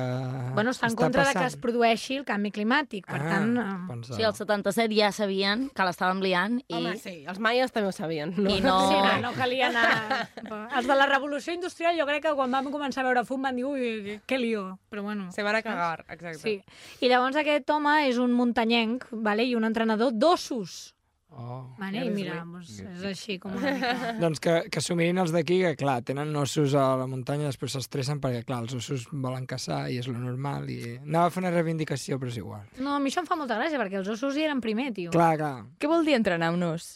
Speaker 7: Bueno, està en contra de que es
Speaker 9: Ah, passant.
Speaker 7: produeixi el canvi climàtic, per
Speaker 9: ah,
Speaker 7: tant... eh,
Speaker 9: pensava.
Speaker 10: Sí, el 77 ja sabien que l'estàvem liant i...
Speaker 8: Home, sí, els maies també ho sabien. No?
Speaker 10: I no...
Speaker 7: Sí, no, no calia anar... [LAUGHS] Els de la Revolució Industrial jo crec que quan vam començar a veure fum van dir ui, que lío, però bueno...
Speaker 8: Se van a cagar, exacte.
Speaker 7: Sí. I llavors aquest home és un muntanyenc vale? i un entrenador d'ossos.
Speaker 9: Oh.
Speaker 7: Vale? I mira, doncs, és així com una mica...
Speaker 9: Doncs que, que s'ho mirin els d'aquí, que clar, tenen ossos a la muntanya, després s'estressen perquè, clar, els ossos volen caçar i és lo normal. I... Anava a fer una reivindicació, però és igual.
Speaker 7: No, a mi això em fa molta gràcia, perquè els ossos hi eren primer, tio.
Speaker 9: Clar, clar.
Speaker 11: Què vol dir entrenar un os?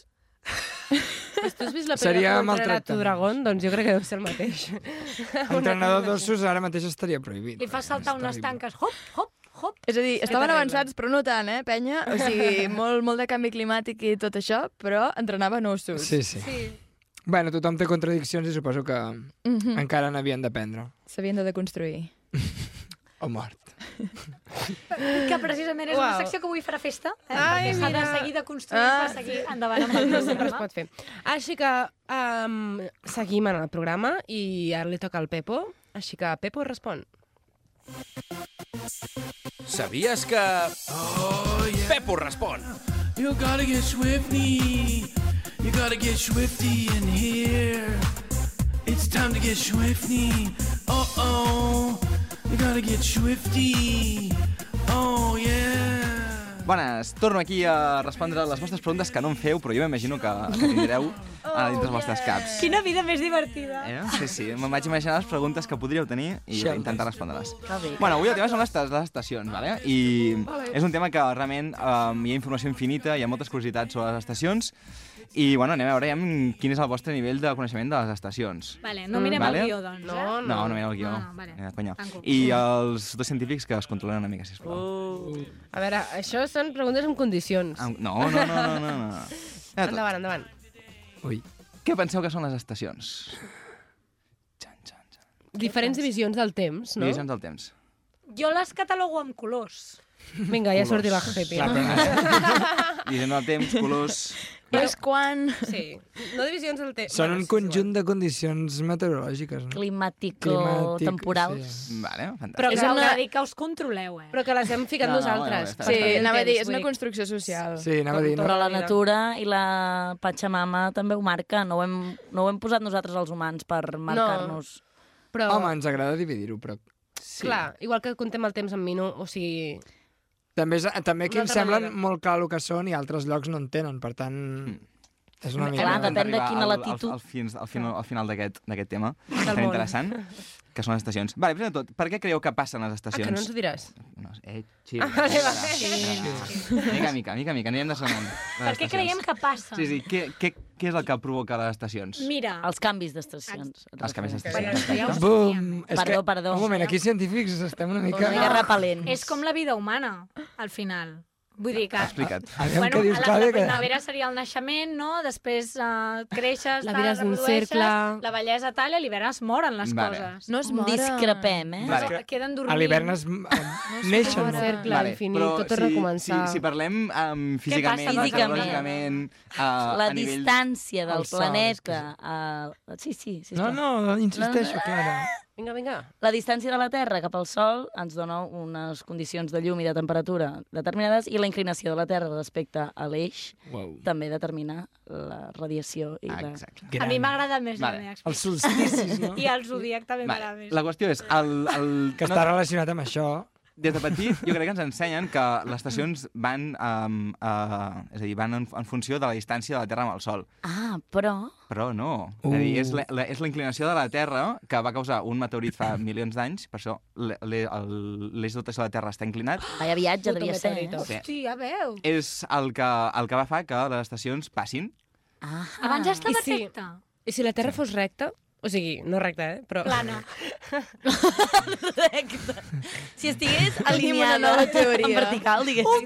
Speaker 8: Pues tu has vist la
Speaker 9: Seria
Speaker 8: pel·lícula contra
Speaker 9: maltractament.
Speaker 8: tu dragón? Doncs jo crec que deu ser
Speaker 9: [LAUGHS]
Speaker 8: el mateix.
Speaker 9: Entrenador d'ossos ara mateix estaria prohibit.
Speaker 7: Li fa saltar unes tanques, hop, hop, hop.
Speaker 11: És a dir, estaven
Speaker 8: terrible.
Speaker 11: avançats, però no tant, eh, penya? O sigui, molt, molt de canvi climàtic i tot això, però entrenaven ossos.
Speaker 9: Sí, sí. sí. Bueno, tothom té contradiccions i suposo que
Speaker 11: Mm -hmm.
Speaker 9: encara n'havien d'aprendre.
Speaker 11: S'havien de deconstruir.
Speaker 9: [LAUGHS] O mort.
Speaker 7: Que precisament és una
Speaker 8: Uau.
Speaker 7: secció que avui farà festa. Eh?
Speaker 8: Ai,
Speaker 7: perquè s'ha de
Speaker 8: mira.
Speaker 7: seguir de construir ah. per seguir endavant amb el
Speaker 8: [LAUGHS] No sempre es
Speaker 7: programa.
Speaker 8: pot fer. Així que um, seguim en el programa i ara li toca al Pepo. Així que Pepo respon.
Speaker 2: Sabies que... Oh, yeah. Pepo respon.
Speaker 12: You gotta get swifty. You gotta get swifty in here. It's time to get swifty. Uh oh. You gotta get swifty. Oh yeah.
Speaker 5: Bones, torno aquí a respondre les vostres preguntes que no em feu, però jo m'imagino que, que tindreu
Speaker 7: Oh,
Speaker 5: a dintre els vostres caps.
Speaker 7: Quina vida més divertida.
Speaker 5: Eh? Sí, sí, me'n vaig imaginar les preguntes que podríeu tenir i
Speaker 9: Shelby.
Speaker 5: intentar respondre-les.
Speaker 10: Que bé.
Speaker 5: Bueno, avui el tema són les, les estacions, vale? i és un tema que realment um, hi ha informació infinita, hi ha moltes curiositats sobre les estacions, i bueno, anem a veure ja, quin és el vostre nivell de coneixement de les estacions.
Speaker 7: Vale, no mirem
Speaker 5: Vale.
Speaker 7: el guió, doncs. eh?
Speaker 8: No,
Speaker 5: No, no mira el guió.
Speaker 7: Ah, vale.
Speaker 5: Eh, conya.
Speaker 7: Tanco.
Speaker 5: I els dos científics que es controlen una mica, sisplau.
Speaker 8: A veure, això són preguntes amb condicions.
Speaker 5: Ah, No, no, no, no, no. no. Anem a tot.
Speaker 8: Endavant, endavant.
Speaker 9: Ui.
Speaker 5: Què penseu que són les estacions?
Speaker 8: Diferents divisions del temps, no?
Speaker 5: Divisions del temps.
Speaker 7: Jo les catalogo amb colors.
Speaker 8: Vinga, ja
Speaker 5: Colors.
Speaker 8: sortirà Happy.
Speaker 5: Clar, però- Divisions del temps, colors...
Speaker 7: És quan...
Speaker 8: Sí, no divisions del temps.
Speaker 9: Són un conjunt de condicions meteorològiques, no?
Speaker 10: Climàtico-temporals.
Speaker 9: Sí.
Speaker 5: Vale, fantàstic.
Speaker 7: Però
Speaker 10: És
Speaker 7: que
Speaker 10: una-
Speaker 7: una... dir que us controleu, eh?
Speaker 8: Però que les hem ficat
Speaker 10: No, no,
Speaker 8: nosaltres.
Speaker 10: bueno, està bé, està bé. Sí,
Speaker 11: anava a dir, és una
Speaker 7: construcció social.
Speaker 9: Sí, anava a dir, no?
Speaker 10: Però la natura i la Pachamama també ho marca. No ho hem, no ho hem posat nosaltres els humans per marcar-nos.
Speaker 8: Però...
Speaker 9: Home, ens agrada dividir-ho, però...
Speaker 8: Sí. Clar, igual que contem el temps amb Mino, o sigui... ah,
Speaker 9: També, és, també aquí
Speaker 8: D'una
Speaker 9: em
Speaker 8: altra
Speaker 9: semblen
Speaker 8: manera.
Speaker 9: molt clar el que són i altres llocs no en tenen, per tant... És una mica...
Speaker 5: Arribar al- Al, al, fins, al, final, al final d'aquest d'aquest tema, que
Speaker 8: món.
Speaker 5: tan interessant, que són les estacions. Vale, primer de tot, per què creieu que passen les
Speaker 8: Ah, que
Speaker 5: estacions?
Speaker 8: no ens ho diràs?
Speaker 5: No, eh, chill.
Speaker 8: Ah, vale, vale.
Speaker 5: Chill. Mica, en mica, mica, en mica, anirem desgranant. les
Speaker 7: Per què
Speaker 5: estacions.
Speaker 7: creiem que passa?
Speaker 5: Sí, sí, què, què, què és el que provoca les estacions?
Speaker 7: Mira...
Speaker 10: Els canvis d'estacions.
Speaker 5: Els canvis
Speaker 10: Bueno, ja
Speaker 5: d'estacions.
Speaker 10: ho
Speaker 9: Bum!
Speaker 7: eh?
Speaker 9: És
Speaker 10: Perdó,
Speaker 9: que,
Speaker 10: perdó.
Speaker 9: Un moment, aquí científics estem una mica...
Speaker 10: Una mica repel·lents.
Speaker 7: És com la vida humana, al final. Vull dir que...
Speaker 5: Explica't.
Speaker 9: Aviam
Speaker 7: bueno,
Speaker 9: què dius,
Speaker 7: a la,
Speaker 9: Clàudia,
Speaker 7: la
Speaker 9: que-
Speaker 7: primavera seria el naixement, no? Després uh, creixes,
Speaker 8: La
Speaker 7: tal,
Speaker 8: vida és un
Speaker 7: reprodueixes,
Speaker 8: cercle.
Speaker 7: la bellesa tal, i a l'hivern es moren les
Speaker 5: Vale.
Speaker 7: coses.
Speaker 11: No es moren.
Speaker 10: Discrepem, eh?
Speaker 5: Vale.
Speaker 7: Es queden dormint.
Speaker 9: A l'hivern es... neixen.
Speaker 8: un cercle infinit, tot torna a començar.
Speaker 5: Si, si parlem um, físicament,
Speaker 10: passa? Físicament.
Speaker 5: meteorològicament, uh,
Speaker 10: La
Speaker 5: a nivell...
Speaker 10: distància del
Speaker 5: El sol,
Speaker 10: planeta... A... Sí, sí, sí.
Speaker 9: No, no, insisteixo, Clara.
Speaker 8: Vinga, vinga.
Speaker 10: La distància de la Terra cap al Sol ens dona unes condicions de llum i de temperatura determinades i la inclinació de la Terra respecte a l'eix
Speaker 9: Uau.
Speaker 10: també determina la radiació i la...
Speaker 5: Ah, Exacte.
Speaker 7: A mi m'agrada més
Speaker 5: Vale.
Speaker 7: la meva explicació.
Speaker 9: Els solsticis, no?
Speaker 7: [LAUGHS] I el zodiac també m'agrada
Speaker 5: Vale.
Speaker 7: més.
Speaker 5: La qüestió és... El, el...
Speaker 9: Que està relacionat amb això.
Speaker 5: Des de petit, jo crec que ens ensenyen que les estacions van, um, uh, és a dir, van en, en funció de la distància de la Terra amb el Sol.
Speaker 10: Ah, però...
Speaker 5: Però no. Uh. És, a dir,
Speaker 9: Uh.
Speaker 5: és, la, la, és la inclinació de la Terra que va causar un meteorit fa milions d'anys, per això l'e- l'e- el- l'eix de rotació de la Terra està inclinat.
Speaker 10: Vaya viatge devia ser, eh?
Speaker 5: Sí.
Speaker 7: Sí, ja veu.
Speaker 5: És el que, el que va fer que les estacions passin.
Speaker 10: Ah, [LAUGHS]
Speaker 7: Abans ja estava
Speaker 8: I si-
Speaker 7: recta.
Speaker 8: I si la Terra fos recta? O sigui, no recta, eh? Però... [LAUGHS]
Speaker 7: Plana.
Speaker 10: Correcte. Si estigués
Speaker 11: Tenim una
Speaker 10: alineada
Speaker 11: nova Uh! teoria.
Speaker 10: en vertical, diguéssim.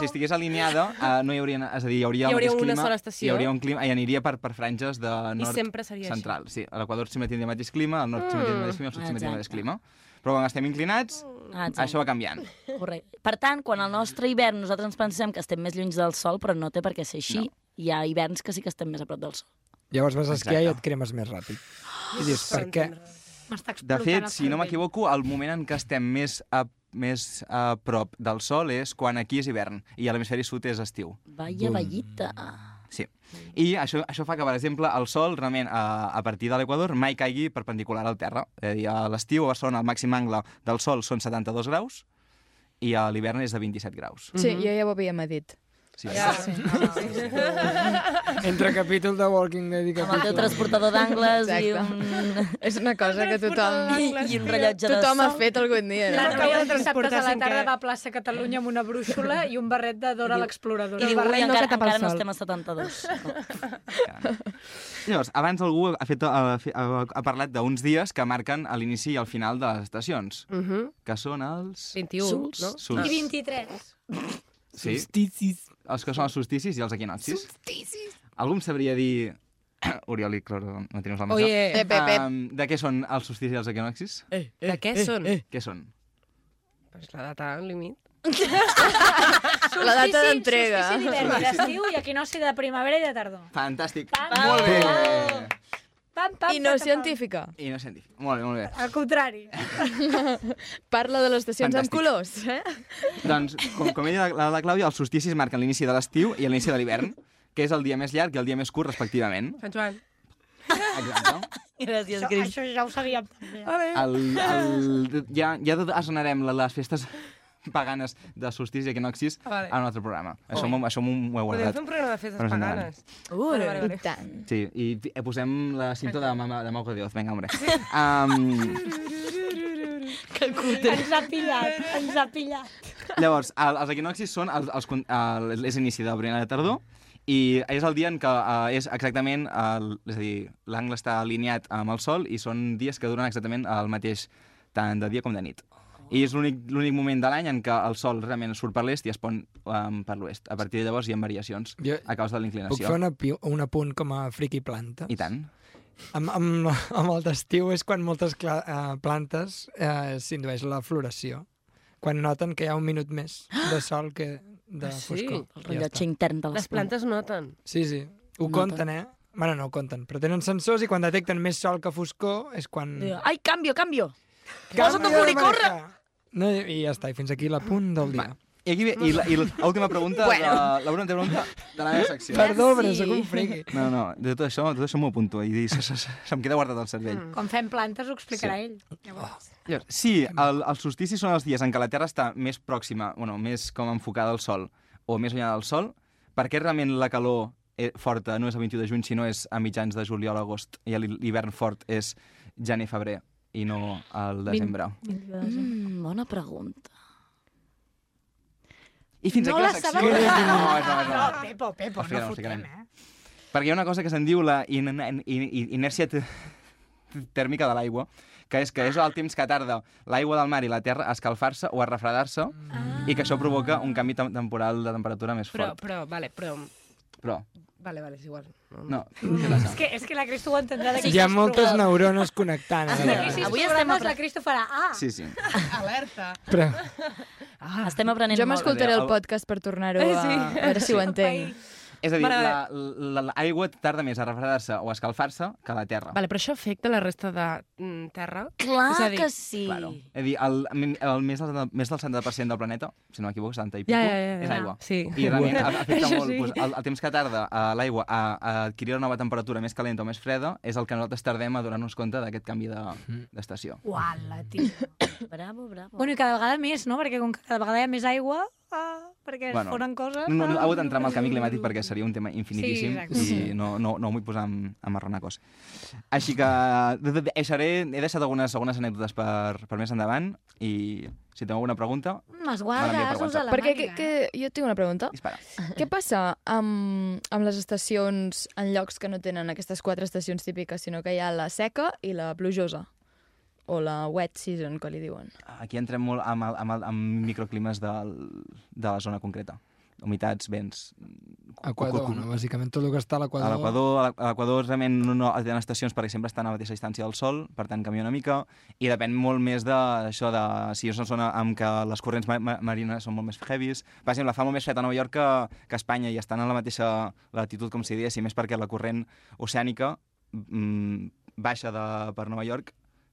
Speaker 5: Si estigués alineada, uh, no hi hauria... És a dir, hi hauria,
Speaker 8: Hi
Speaker 5: el
Speaker 8: hauria
Speaker 5: mateix
Speaker 8: una
Speaker 5: clima,
Speaker 8: sola estació.
Speaker 5: Hi hauria un clima i aniria per, per franges de
Speaker 8: I
Speaker 5: nord
Speaker 8: sempre seria així.
Speaker 5: central. Sí, a l'Equador sempre tindria el mateix clima, al nord sempre tindria el mateix clima, al sud sempre tindria el mateix
Speaker 10: Exacte.
Speaker 5: clima. Però quan estem inclinats,
Speaker 10: Ah, exacte.
Speaker 5: això va canviant.
Speaker 10: Correcte. Per tant, quan el nostre hivern nosaltres ens pensem que estem més lluny del sol, però no té per què ser així. Hi ha hiverns que sí que estem més a prop del sol.
Speaker 9: Llavors vas a esquiar i
Speaker 5: Exacte.
Speaker 9: et cremes més ràpid. I dius, per què?
Speaker 5: De
Speaker 7: M'està explotant
Speaker 5: fet,
Speaker 7: el
Speaker 5: si no
Speaker 7: cervell.
Speaker 5: m'equivoco, el moment en què estem més a, més a prop del sol és quan aquí és hivern i a l'hemisferi sud és estiu.
Speaker 10: Vaya ballita.
Speaker 5: Sí.
Speaker 11: Mm.
Speaker 5: I això, això fa que, per exemple, el sol realment a, a partir de l'Equador mai caigui perpendicular al terra. És a dir, a l'estiu a Barcelona el màxim angle del sol són 72 graus i a l'hivern és de 27 graus.
Speaker 11: Sí, jo ja ho havia medit.
Speaker 5: Sí,
Speaker 11: Sí.
Speaker 9: Entre capítol de Walking Dead i
Speaker 10: Amb el teu
Speaker 9: capítol...
Speaker 10: transportador d'angles i
Speaker 11: Exacte.
Speaker 10: [LAUGHS] un...
Speaker 11: És una cosa que tothom...
Speaker 10: I, i un rellotge de
Speaker 11: Tothom ha
Speaker 10: sol.
Speaker 11: fet algun dia,
Speaker 7: La
Speaker 11: no?
Speaker 7: Raquel dissabtes
Speaker 8: transportar
Speaker 7: a la
Speaker 8: sin
Speaker 7: tarda
Speaker 8: que-
Speaker 7: va a plaça Catalunya amb una brúixola i un barret de Dora l'explorador.
Speaker 10: I diu,
Speaker 8: barret
Speaker 10: ui,
Speaker 8: no
Speaker 10: encara,
Speaker 8: que tapa el
Speaker 10: encara no
Speaker 8: sol."
Speaker 10: estem a [LAUGHS] 72.
Speaker 5: Llavors, abans algú ha, fet, ha, fe- ha, ha parlat d'uns dies que marquen a l'inici i al final de les estacions,
Speaker 8: Uh -huh.
Speaker 5: que són els...
Speaker 8: 21,
Speaker 10: Sols.
Speaker 8: no?
Speaker 5: Sols.
Speaker 7: I 23.
Speaker 11: Ah,
Speaker 5: Sí. Solsticis. Els que són els solsticis i els equinoccis. Solsticis. Algú em sabria dir... [COUGHS] Oriol i Cloro, no teniu el mateix.
Speaker 8: Oye,
Speaker 9: Eh,
Speaker 11: Pep, pep, pep.
Speaker 5: Em, de què són els solsticis i els equinoccis?
Speaker 8: de què
Speaker 9: eh,
Speaker 8: són?
Speaker 5: Què són?
Speaker 8: Pues la data límit.
Speaker 11: La data d'entrega.
Speaker 7: Solstici d'hivern i d'estiu i equinoci de primavera i de tardor.
Speaker 5: Fantàstic.
Speaker 7: Pam,
Speaker 5: Molt bé.
Speaker 7: Pam, pam,
Speaker 11: I no
Speaker 7: pam, pam.
Speaker 11: científica.
Speaker 5: I no científic. Molt bé, molt bé.
Speaker 7: Al contrari.
Speaker 11: Parla de les estacions amb
Speaker 5: Fantàstic.
Speaker 11: colors, eh?
Speaker 5: Doncs, com, com he dit la, la Clàudia, els solsticis marquen l'inici de l'estiu i l'inici de l'hivern, que és el dia més llarg i el dia més curt, respectivament.
Speaker 8: Sant Joan.
Speaker 5: Exacte.
Speaker 10: Gràcies,
Speaker 7: Això,
Speaker 10: Cris.
Speaker 7: això ja ho sabíem també.
Speaker 5: El, el, ja, ja desgranarem la- les festes paganes de solsticis i equinoccis
Speaker 8: Ah, vale.
Speaker 5: a un altre programa. Això m'ho això m'ho- m'ho he
Speaker 8: Podem fer
Speaker 5: guardat.
Speaker 8: un programa de festes
Speaker 5: Però és endavant.
Speaker 8: paganes.
Speaker 11: Ui,
Speaker 8: vale, vale.
Speaker 11: i tant.
Speaker 5: Sí, i fi- eh, posem la cinta de Mama, de Mau de Dios, venga, hombre. Um,
Speaker 7: Ens ha pillat, ens ha pillat.
Speaker 5: llavors, el, els equinoccis són els, els, con- el, és inici de primavera de tardor i és el dia en què uh, és exactament, el, és a dir, l'angle està alineat amb el sol i són dies que duren exactament el mateix tant de dia com de nit. I és l'únic l'únic moment de l'any en què el sol realment surt per l'est i es pon um, per l'oest. A partir de llavors hi ha variacions
Speaker 9: Jo-
Speaker 5: a causa de
Speaker 9: Puc fer
Speaker 5: l'inclinació.
Speaker 9: una, pi- un apunt com a friki planta?
Speaker 5: I tant.
Speaker 9: Amb, amb, amb el d'estiu és quan moltes cla- eh, plantes eh, s'indueix la floració. Quan noten que hi ha un minut més de sol que de
Speaker 8: Ah, sí?
Speaker 9: foscor. I
Speaker 8: El
Speaker 9: ja
Speaker 8: rellotge
Speaker 9: està.
Speaker 10: intern de
Speaker 8: Les plantes noten.
Speaker 9: Sí, sí. Ho
Speaker 8: Noten.
Speaker 9: compten, eh? Bueno, no ho compten, però tenen sensors i quan detecten més sol que foscor és quan...
Speaker 10: Diu, Ai, canvio, canvio!
Speaker 9: Canvio
Speaker 10: Posa't a
Speaker 9: de
Speaker 10: florir, corre!
Speaker 9: No, i i ja està, i fins aquí la punt del dia.
Speaker 5: I, aquí ve, i la- i l'última pregunta,
Speaker 9: Bueno.
Speaker 5: de, l'última pregunta de la meva secció.
Speaker 9: Perdó, però sóc un friqui.
Speaker 5: No, no, de tot això, tot això m'ho apunto i se, se, se, se'm queda guardat al
Speaker 8: Mm.
Speaker 5: cervell.
Speaker 7: Quan fem plantes ho explicarà
Speaker 5: Sí.
Speaker 7: ell.
Speaker 11: Oh.
Speaker 7: Llavors.
Speaker 5: Llavors, Sí, el, els solsticis són els dies en què la Terra està més pròxima, bueno, més com enfocada al Sol, o més allunyada del Sol, perquè realment la calor eh, forta no és el 21 de juny, sinó és a mitjans de juliol, agost, i l'hi- l'hivern fort és gener, febrer, i no al desembre.
Speaker 10: Mm, bona pregunta.
Speaker 5: I fins
Speaker 10: No
Speaker 5: aquí la
Speaker 10: la
Speaker 5: secció.
Speaker 10: sabem.
Speaker 5: No, no, no, no.
Speaker 7: No, Pepo, Pepo,
Speaker 5: Al final
Speaker 7: no
Speaker 5: la ficarem.
Speaker 7: fotem, eh?
Speaker 5: Perquè hi ha una cosa que se'n diu la in in in inèrcia te- tèrmica de l'aigua, que és que és el temps que tarda l'aigua del mar i la terra a escalfar-se o a refredar-se i que això provoca un canvi tem temporal de temperatura més
Speaker 8: Però,
Speaker 5: fort.
Speaker 8: però, vale, però...
Speaker 5: Però,
Speaker 8: Vale, vale, és igual.
Speaker 5: no,
Speaker 7: És que, és que la Cristo ho entendrà
Speaker 8: [LAUGHS]
Speaker 7: d'aquí.
Speaker 9: Hi ha moltes neurones connectant. eh?
Speaker 7: Ah,
Speaker 9: ara.
Speaker 7: sí, sí,
Speaker 10: Avui
Speaker 7: Avui
Speaker 10: estem
Speaker 7: estem
Speaker 10: apre-
Speaker 7: la Cristo farà... Ah,
Speaker 5: sí, sí.
Speaker 7: alerta.
Speaker 9: Però...
Speaker 10: Ah, Estem aprenent
Speaker 11: Jo
Speaker 10: molt.
Speaker 11: m'escoltaré el podcast per tornar-ho a...
Speaker 10: Sí.
Speaker 11: a veure si ho entenc.
Speaker 5: És a dir,
Speaker 8: Mare de
Speaker 5: l'aigua la, la, l'aigua tarda més a refredar-se o a escalfar-se que la terra.
Speaker 8: Vale, però això afecta la resta de mm, terra?
Speaker 10: Clar
Speaker 8: És a dir,
Speaker 10: que sí.
Speaker 5: Claro. És a dir, el, el més, del, més del 70% del planeta, si no m'equivoco, 70 i
Speaker 8: Ja,
Speaker 5: pico,
Speaker 8: ja, ja, ja.
Speaker 5: és aigua.
Speaker 8: Sí.
Speaker 5: I realment
Speaker 8: [LAUGHS] Bueno.
Speaker 5: afecta
Speaker 8: Això
Speaker 5: molt.
Speaker 8: sí.
Speaker 5: Doncs, el, el temps que tarda a l'aigua a, a adquirir una nova temperatura més calenta o més freda és el que nosaltres tardem a donar-nos compte d'aquest canvi de- d'estació. De,
Speaker 7: Uala, tio.
Speaker 10: Bravo, bravo.
Speaker 7: Bueno, i cada vegada més, no? Perquè com que cada vegada hi ha més aigua, ah, perquè es foren coses...
Speaker 5: No, no, ha
Speaker 7: ah.
Speaker 5: hagut d'entrar amb el canvi climàtic perquè seria un tema infinitíssim
Speaker 7: exacte.
Speaker 5: i no, no, no ho vull posar en, en marronacos. Així que de- de- deixaré, he deixat algunes, algunes anècdotes per, per més endavant i si teniu alguna pregunta...
Speaker 7: Les
Speaker 5: me l'envieu per
Speaker 7: guardes, us a
Speaker 5: WhatsApp.
Speaker 7: la
Speaker 11: Perquè que,
Speaker 7: màniga.
Speaker 11: que, jo tinc una pregunta.
Speaker 5: Dispara.
Speaker 11: Què passa amb, amb les estacions en llocs que no tenen aquestes quatre estacions típiques, sinó que hi ha la seca i la plujosa? O la wet season, que li diuen.
Speaker 5: Aquí entrem molt amb, el, amb, el, amb microclimes del, de la zona concreta. Humitats, vents... cu-
Speaker 9: Equador,
Speaker 5: cu- cu-
Speaker 9: no? Bàsicament tot el que està a
Speaker 5: A
Speaker 9: l'Equador.
Speaker 5: l'Equador, a l'E- a l'Equador realment no, no, hi ha estacions, per exemple, estan a la mateixa distància del Sol, per tant canvia una mica, i depèn molt més de això de si és una zona amb què les corrents ma ma marines són molt més heavies. Per exemple, fa molt més fred a Nova York que, que a Espanya i estan a la mateixa latitud, com si diguéssim, més perquè la corrent oceànica mm, baixa de, per Nova York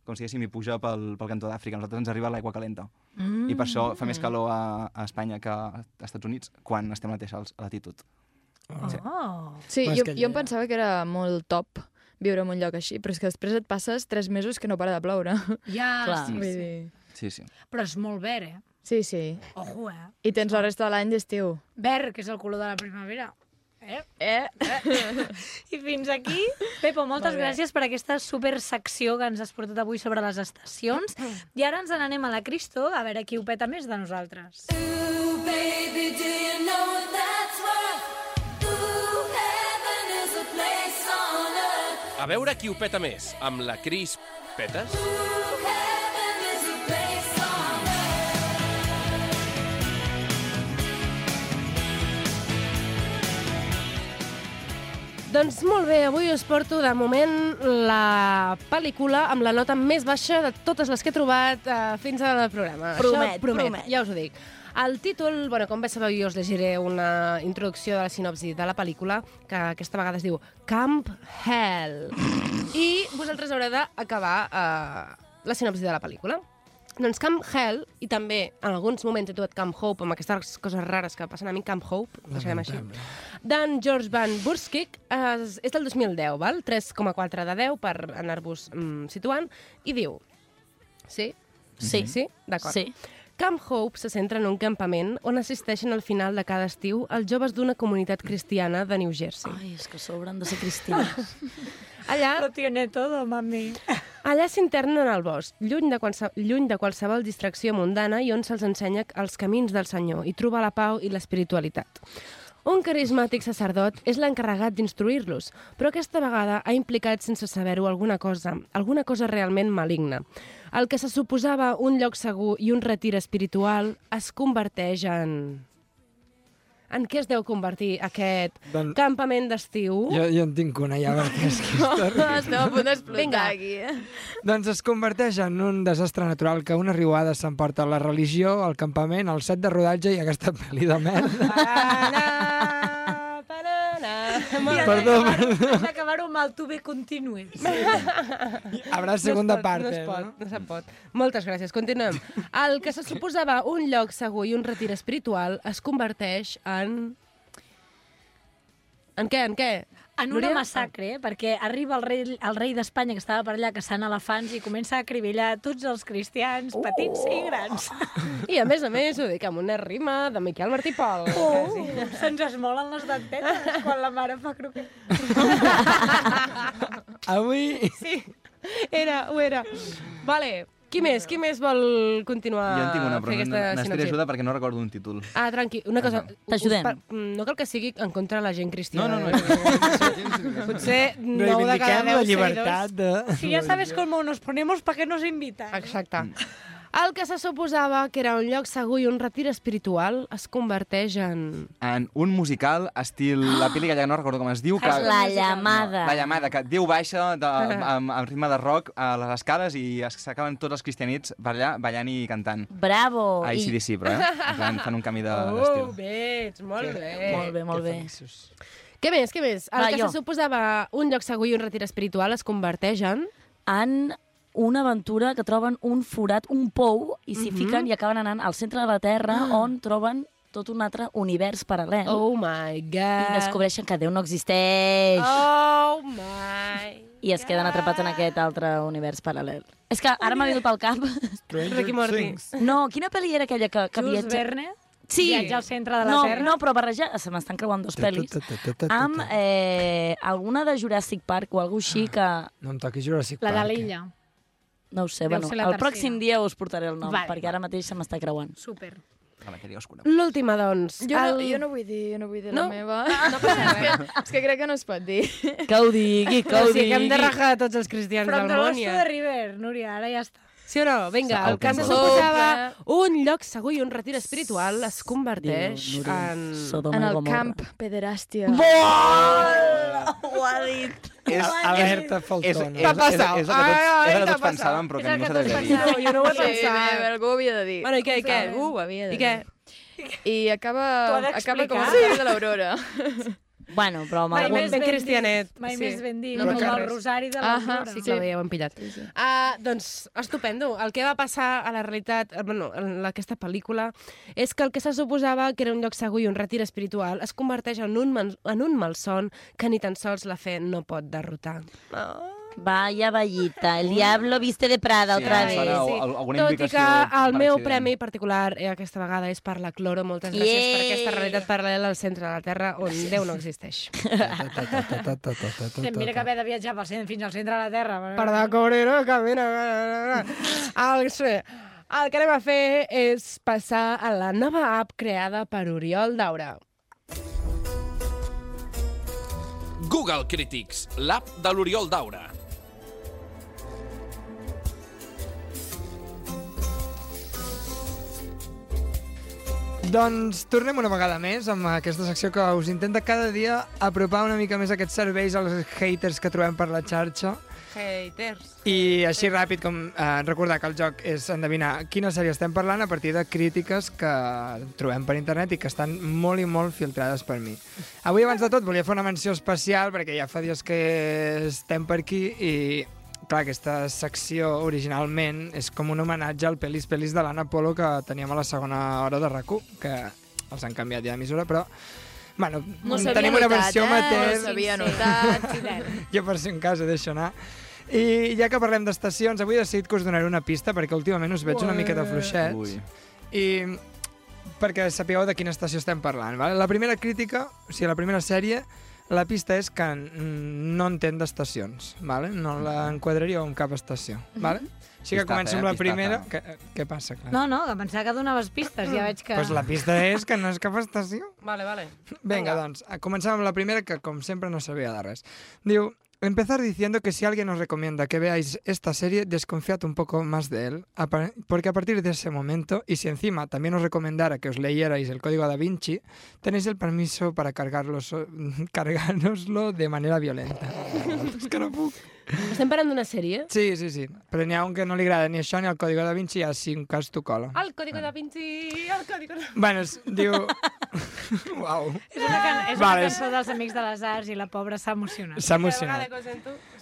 Speaker 5: com si diguéssim, i puja pel, pel cantó d'Àfrica. A nosaltres ens arriba l'aigua calenta.
Speaker 7: Mm,
Speaker 5: I per això fa més calor a, a Espanya que a Estats Units quan estem a la mateixa latitud.
Speaker 7: Oh.
Speaker 11: Sí,
Speaker 5: Però és
Speaker 11: jo,
Speaker 5: que
Speaker 11: jo em pensava que era molt top viure en un lloc així, però és que després et passes tres mesos que no para de ploure.
Speaker 10: Ah,
Speaker 7: Ja,
Speaker 11: Clar.
Speaker 7: sí,
Speaker 11: Vull
Speaker 7: sí.
Speaker 11: dir...
Speaker 5: Sí, sí.
Speaker 7: Però és molt verd, eh?
Speaker 11: Sí, sí.
Speaker 7: Ojo, eh?
Speaker 11: I tens la resta de l'any d'estiu.
Speaker 7: Verd, que és el color de la primavera. Eh? Eh? eh? [LAUGHS] I fins aquí. Pepo, moltes
Speaker 11: Molt bé.
Speaker 7: gràcies per aquesta supersecció que ens has portat avui sobre les estacions. I ara ens n'anem a la Cristo, a veure qui ho peta més de nosaltres.
Speaker 12: Baby, do you know what that's worth? Ooh, heaven is a place on earth.
Speaker 2: A veure qui ho peta més, amb la Cris Petes?
Speaker 12: Heaven is a place on earth.
Speaker 8: Doncs molt bé, avui us porto de moment la pel·lícula amb la nota més baixa de totes les que he trobat eh, fins al programa.
Speaker 10: Promet,
Speaker 8: Això promet,
Speaker 10: promet.
Speaker 8: ja us ho dic. El títol, bueno, com bé sabeu, jo us llegiré una introducció de la sinopsi de la pel·lícula, que aquesta vegada es diu Camp Hell. I vosaltres haureu d'acabar eh, la sinopsi de la pel·lícula. Doncs Camp Hell, i també en alguns moments he trobat Camp Hope, amb aquestes coses rares que passen a mi, Camp Hope, ho deixarem així, d'en George Van Burskik, és, és del 2010, val? 3,4 de 10 per anar-vos mm, situant, i diu... Sí?
Speaker 10: Sí.
Speaker 8: Sí? D'acord.
Speaker 10: Sí.
Speaker 8: Camp Hope se centra en un campament on assisteixen al final de cada estiu els joves d'una comunitat cristiana de New Jersey.
Speaker 10: Ai, és que a sobre han de ser
Speaker 5: [LAUGHS]
Speaker 10: cristians.
Speaker 8: Allà...
Speaker 7: Lo tiene todo, mami.
Speaker 8: Allà s'internen al bosc, lluny de, qualse lluny de qualsevol distracció mundana i on se'ls ensenya els camins del Senyor i trobar la pau i l'espiritualitat. Un carismàtic sacerdot és l'encarregat d'instruir-los, però aquesta vegada ha implicat sense saber-ho alguna cosa, alguna cosa realment maligna. El que se suposava un lloc segur i un retir espiritual es converteix en... en què es deu convertir aquest
Speaker 9: Doncs-
Speaker 8: campament d'estiu?
Speaker 9: Jo, jo en tinc una ja, perquè és
Speaker 8: [LAUGHS]
Speaker 9: que...
Speaker 11: Esteu a punt d'explotar
Speaker 8: Vinga.
Speaker 11: aquí.
Speaker 9: Doncs es converteix en un desastre natural que una riuada s'emporta la religió, el campament, el set de rodatge i aquesta pel·li de
Speaker 8: [LAUGHS]
Speaker 9: merda.
Speaker 7: I
Speaker 9: Perdó,
Speaker 7: has d'acabar-ho-
Speaker 9: perdó.
Speaker 7: Has d'acabar-ho amb el tu bé continue.
Speaker 9: Habrà segunda
Speaker 8: es pot,
Speaker 9: part,
Speaker 8: No es
Speaker 9: eh,
Speaker 8: pot, no, se'n pot. Moltes gràcies. Continuem. El que se suposava un lloc segur i un retir espiritual es converteix en... En què, en què?
Speaker 7: En una massacre, eh? perquè arriba el rei, el rei d'Espanya que estava per allà caçant elefants i comença a acribillar tots els cristians, petits i grans.
Speaker 8: I a més a més ho dic amb una rima de Miquel Martí Pol.
Speaker 7: Uh, se'ns esmolen les dentetes quan la mare fa [LAUGHS] croquet.
Speaker 9: [LAUGHS] Avui...
Speaker 8: Sí, era, ho era. Vale, qui més? Qui més vol continuar
Speaker 5: Jo en tinc una,
Speaker 8: fer
Speaker 5: però
Speaker 8: Ah, aquesta
Speaker 5: ne- necessito
Speaker 8: sinopsi?
Speaker 5: ajuda perquè no recordo un títol.
Speaker 8: Ah, tranqui, una cosa...
Speaker 5: T'ajudem.
Speaker 8: us pa- No cal que sigui en contra de la gent cristiana.
Speaker 5: No, no, no.
Speaker 8: no. Potser nou de cada
Speaker 9: Reivindiquem la
Speaker 8: deu
Speaker 9: llibertat de-
Speaker 8: Si ja sabes com nos ponemos, ¿para qué nos invitan? Exacte.
Speaker 5: Mm.
Speaker 8: El que se suposava que era un lloc segur i un retir espiritual es converteix en...
Speaker 5: En un musical estil La Pili Gallega, no recordo com es diu. Que...
Speaker 10: És La Llamada.
Speaker 5: La llamada, que Déu baixa de, amb, amb ritme de rock a les escales i es- s'acaben tots els cristianits per allà ballant i cantant.
Speaker 10: Bravo!
Speaker 5: Ai, sí, sí, però, eh? En plan, fan un canvi de- d'estil.
Speaker 8: [LAUGHS] Oh, bé, ets molt bé.
Speaker 10: Molt bé, molt bé.
Speaker 8: Què més, què més? El
Speaker 10: Va,
Speaker 8: que
Speaker 10: jo.
Speaker 8: se suposava un lloc segur i un retir espiritual es converteix en...
Speaker 10: En una aventura que troben un forat, un pou, i s'hi
Speaker 8: Mhm. Ah.
Speaker 10: fiquen i acaben anant al centre de la Terra on troben tot un altre univers paral·lel.
Speaker 8: Oh my god!
Speaker 10: Eh? I descobreixen que Déu no existeix.
Speaker 8: Oh my...
Speaker 10: I es queden atrapats en aquest altre univers paral·lel. És que ara m'ha vingut pel
Speaker 8: [LAUGHS]
Speaker 10: cap...
Speaker 8: Ricky Morty. Things.
Speaker 10: No, quina pel·li era aquella que, que
Speaker 7: Jules Verne?
Speaker 10: Sí.
Speaker 7: Viatge al centre de la
Speaker 10: no,
Speaker 7: Terra?
Speaker 10: No, però barrejar... Se m'estan creuant dos pel·lis. Amb eh, alguna de Jurassic Park o alguna així que...
Speaker 9: No em toquis Jurassic
Speaker 10: La de
Speaker 9: Park.
Speaker 10: l'illa. No ho sé,
Speaker 8: Ah. Deu
Speaker 10: bueno,
Speaker 8: ser
Speaker 10: el
Speaker 8: la tercera.
Speaker 10: pròxim dia us portaré el nom,
Speaker 8: Vale.
Speaker 10: perquè ara mateix se m'està creuant.
Speaker 7: Super.
Speaker 5: A la que Dios conec.
Speaker 8: L'última, doncs.
Speaker 11: Jo, no,
Speaker 8: el...
Speaker 11: jo no vull dir, jo no vull dir
Speaker 8: No? Ah.
Speaker 11: la meva. No passa res. és que crec que no es pot dir.
Speaker 10: Que ho digui,
Speaker 8: [LAUGHS] que ho O sigui, que hem de digui. rajar tots els cristians
Speaker 7: From
Speaker 8: del món,
Speaker 7: From
Speaker 8: ja.
Speaker 7: the River, Núria, ara ja està.
Speaker 8: Sí o no? Vinga,
Speaker 7: Sa-
Speaker 8: el que se
Speaker 7: Open World.
Speaker 8: suposava un lloc segur i un retir espiritual es converteix
Speaker 10: Diu, Núria,
Speaker 8: en...
Speaker 10: Sodoma
Speaker 11: en
Speaker 10: i
Speaker 11: el
Speaker 10: Gomorra.
Speaker 11: camp pederàstia.
Speaker 10: Molt! Ho ha dit.
Speaker 5: És,
Speaker 9: Alerta faltona.
Speaker 5: és, és, és,
Speaker 9: T'ha
Speaker 5: és, és,
Speaker 9: passat.
Speaker 5: és, el que tots,
Speaker 8: eh,
Speaker 9: Ai, ai,
Speaker 5: és el que
Speaker 9: t'ha
Speaker 5: tots pensàvem, però que ningú s'ha de dir.
Speaker 11: pensàvem.
Speaker 8: jo no ho he
Speaker 11: Sí,
Speaker 8: pensat.
Speaker 11: bé, algú ho havia de dir.
Speaker 8: Bueno, i què, i què? Uh,
Speaker 11: Algú ho havia de
Speaker 8: I què?
Speaker 11: dir. I acaba,
Speaker 8: T'ho ha
Speaker 11: acaba com el
Speaker 8: d'explicar.
Speaker 11: sí. de l'Aurora.
Speaker 10: Bueno, però amb
Speaker 8: Mai
Speaker 10: algun...
Speaker 8: més ben cristianet.
Speaker 7: Mai
Speaker 8: Sí.
Speaker 7: més ben dit.
Speaker 8: No
Speaker 7: No,
Speaker 8: toca
Speaker 7: el
Speaker 8: res.
Speaker 7: rosari de
Speaker 8: Ahà,
Speaker 7: la Flora.
Speaker 8: sí que la veieu, hem pillat.
Speaker 11: Sí, sí.
Speaker 8: Ah, doncs, estupendo. El que va passar a la realitat, eh, bueno, en la- aquesta pel·lícula, és que el que se suposava que era un lloc segur i un retir espiritual es converteix en un, man- en un malson que ni tan sols la fe no pot derrotar.
Speaker 10: Vaya vallita, el diablo viste de ah, Prada
Speaker 5: Sí,
Speaker 10: otra
Speaker 5: em sona
Speaker 10: vez.
Speaker 5: al- al- alguna
Speaker 8: Tot i que
Speaker 5: implicació
Speaker 8: el
Speaker 5: per
Speaker 8: meu
Speaker 5: accident.
Speaker 8: premi particular eh, aquesta vegada és per la Cloro. Moltes gràcies per
Speaker 10: Yeay!
Speaker 8: aquesta realitat paral·lela al centre de la Terra on Déu no existeix.
Speaker 7: Mira que haver de viatjar pel centre, fins al centre de la Terra.
Speaker 8: Perdó, cobrero, que mira... El, sí, el que anem a fer és passar a la nova app creada per Oriol Daura.
Speaker 2: Google Critics, l'app de l'Oriol Daura.
Speaker 9: Doncs tornem una vegada més amb aquesta secció que us intenta cada dia apropar una mica més aquests serveis als haters que trobem per la xarxa.
Speaker 8: Haters.
Speaker 9: I així ràpid, com eh, recordar que el joc és endevinar quina sèrie estem parlant a partir de crítiques que trobem per internet i que estan molt i molt filtrades per mi. Avui, abans de tot, volia fer una menció especial perquè ja fa dies que estem per aquí i, clar, aquesta secció originalment és com un homenatge al Pelis Pelis de l'Anna Polo que teníem a la segona hora de rac que els han canviat ja de mesura, però... Bueno,
Speaker 11: No s'havia
Speaker 9: tenim una
Speaker 11: notat,
Speaker 9: versió
Speaker 11: eh?
Speaker 9: amateur.
Speaker 11: No s'havia
Speaker 7: [LAUGHS]
Speaker 11: notat.
Speaker 9: [LAUGHS] Jo per si en cas ho deixo anar. I ja que parlem d'estacions, avui he decidit que us donaré una pista perquè últimament us veig una miqueta fluixets.
Speaker 5: Ui.
Speaker 9: I perquè sapigueu de quina estació estem parlant. Vale? La primera crítica, o sigui, la primera sèrie, la pista és que mm, no entén d'estacions, vale? no la enquadraríeu en cap estació. Vale? Així que
Speaker 5: Pistaza,
Speaker 9: començo
Speaker 5: eh?
Speaker 9: amb la
Speaker 5: Pistaza.
Speaker 9: primera. Que, què passa, clar?
Speaker 7: No, no, que pensava que donaves pistes, ja veig que...
Speaker 9: Pues la pista és que no és cap estació.
Speaker 8: [LAUGHS] Vale, vale. eh,
Speaker 9: Vinga, doncs, comencem amb la primera, que com sempre no servia de res. Diu,
Speaker 8: empezar diciendo que si alguien nos recomienda que veáis esta serie, desconfiad un poco más de él, a par- porque a partir de ese momento, y si encima también os recomendara que os leyerais el código da Vinci, tenéis el permiso para cargarlos, [LAUGHS] cargárnoslo de manera violenta. És que no puc.
Speaker 13: Estem parlant d'una sèrie?
Speaker 8: Sí, sí, sí. Però n'hi ha un que no li agrada ni això ni el código da Vinci, ja si un cas t'ho cola.
Speaker 13: El Código da Vinci, el Código da...
Speaker 8: Bueno, es, diu... [LAUGHS] Uau.
Speaker 7: És una, can és
Speaker 8: Vale,
Speaker 7: una
Speaker 8: és-
Speaker 7: cançó dels Amics de les Arts i la pobra s'ha emocionat.
Speaker 8: S'ha emocionat.
Speaker 7: Cada vegada que ho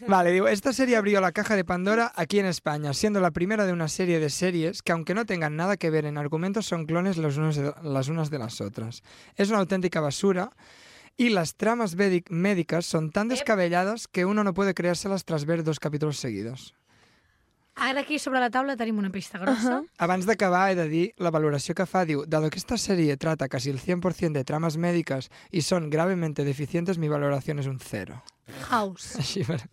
Speaker 7: sento-
Speaker 8: Vale, digo, esta serie abrió la caja de Pandora aquí en España, siendo la primera de una serie de series que, aunque no tengan nada que ver en argumentos, son clones los unos de- las unas de las otras. Es una auténtica basura y las tramas vedi- médicas son tan descabelladas que uno no puede creérselas tras ver dos capítulos seguidos.
Speaker 7: Ara aquí sobre la taula tenim una pista grossa.
Speaker 8: Abans d'acabar, he de dir la valoració que fa. Diu, dado que esta serie trata casi el 100% de tramas médicas y son gravemente deficientes, mi valoración es un cero.
Speaker 7: House.
Speaker 8: [LAUGHS] Així, per...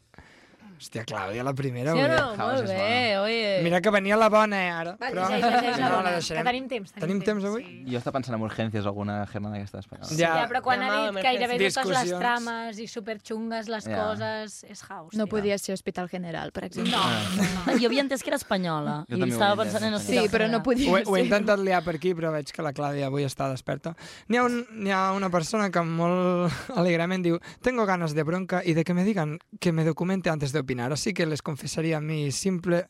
Speaker 8: Hòstia, Clàudia, la primera.
Speaker 7: Sí o
Speaker 8: volia-
Speaker 7: no? Molt bé, oye.
Speaker 8: Mira que venia la bona, eh, ara.
Speaker 7: Vale,
Speaker 8: però...
Speaker 7: sí, sí, sí, sí,
Speaker 8: no,
Speaker 7: bona,
Speaker 8: la deixarem.
Speaker 7: que tenim temps, tenim
Speaker 8: Tenim temps, avui?
Speaker 5: Jo estava pensant en urgències alguna germa d'aquestes paraules.
Speaker 8: Ja.
Speaker 7: Ja, però quan
Speaker 11: Ja,
Speaker 7: ha
Speaker 11: mal,
Speaker 7: dit gairebé totes les
Speaker 11: Discussions.
Speaker 7: trames i superxungues les
Speaker 5: Ja.
Speaker 7: coses, és house.
Speaker 11: No podia ser Hospital General, per exemple.
Speaker 7: No,
Speaker 5: Ah.
Speaker 10: Jo havia entès que era espanyola.
Speaker 11: Jo
Speaker 10: Jo I
Speaker 11: també ho
Speaker 10: estava
Speaker 11: havia entès,
Speaker 10: pensant en
Speaker 11: Sí,
Speaker 10: hospital
Speaker 11: però no
Speaker 10: general.
Speaker 11: podia
Speaker 8: Ho, he- ho he
Speaker 11: ser.
Speaker 8: intentat liar per aquí, però veig que la Clàudia avui està desperta. N'hi ha, un, n'hi ha una persona que molt [LAUGHS] alegrament diu «Tengo ganas de bronca y de que me digan que me documente antes de opinar, así que les confesaría mi simple...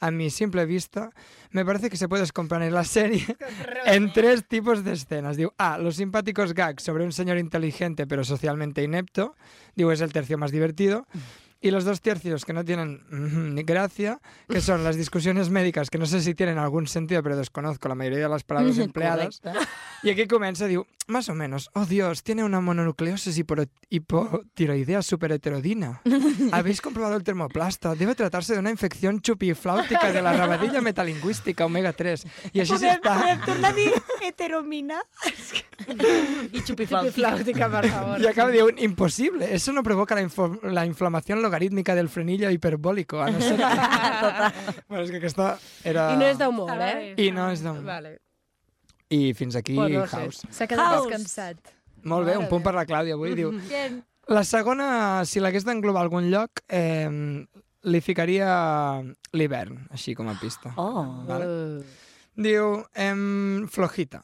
Speaker 8: A mi simple vista, me parece que se puede componer la serie [LAUGHS] en tres tipos de escenas. Digo, A, los simpáticos gags sobre un señor inteligente pero socialmente inepto. Digo, es el tercio más divertido. Y los dos tercios que no tienen mm, ni gracia, que son las discusiones médicas, que no sé si tienen algún sentido, pero desconozco la mayoría de las palabras empleadas.
Speaker 10: Correcte.
Speaker 8: Y aquí comienza, digo, más o menos, oh Dios, tiene una mononucleosis hiporo- hipotiroidea superheterodina. Habéis comprobado el termoplasta, debe tratarse de una infección chupifláutica de la rabadilla metalingüística omega 3. Y así se
Speaker 7: podem,
Speaker 8: está.
Speaker 7: podem tornar a dir heteromina?
Speaker 10: I xupiflàutica.
Speaker 7: Flàutica, per favor.
Speaker 8: Y acaba de un imposible. Eso no provoca la, info- la inflamación logarítmica del frenillo hiperbólico. A
Speaker 13: [LAUGHS]
Speaker 8: no ser... bueno, és que aquesta era...
Speaker 13: I no és d'humor, eh?
Speaker 8: I no és d'humor.
Speaker 13: Vale.
Speaker 8: I fins aquí,
Speaker 13: Bueno, no sé.
Speaker 8: House.
Speaker 11: S'ha quedat
Speaker 13: House.
Speaker 11: descansat.
Speaker 8: Molt bé, un
Speaker 11: Mare
Speaker 8: punt per la Clàudia avui.
Speaker 13: [LAUGHS]
Speaker 8: Diu,
Speaker 11: Bien.
Speaker 8: La segona, si l'hagués d'englobar a algun lloc, eh, li ficaria l'hivern, així com a pista.
Speaker 10: Oh.
Speaker 8: Vale?
Speaker 13: Uh.
Speaker 8: Diu, em, flojita.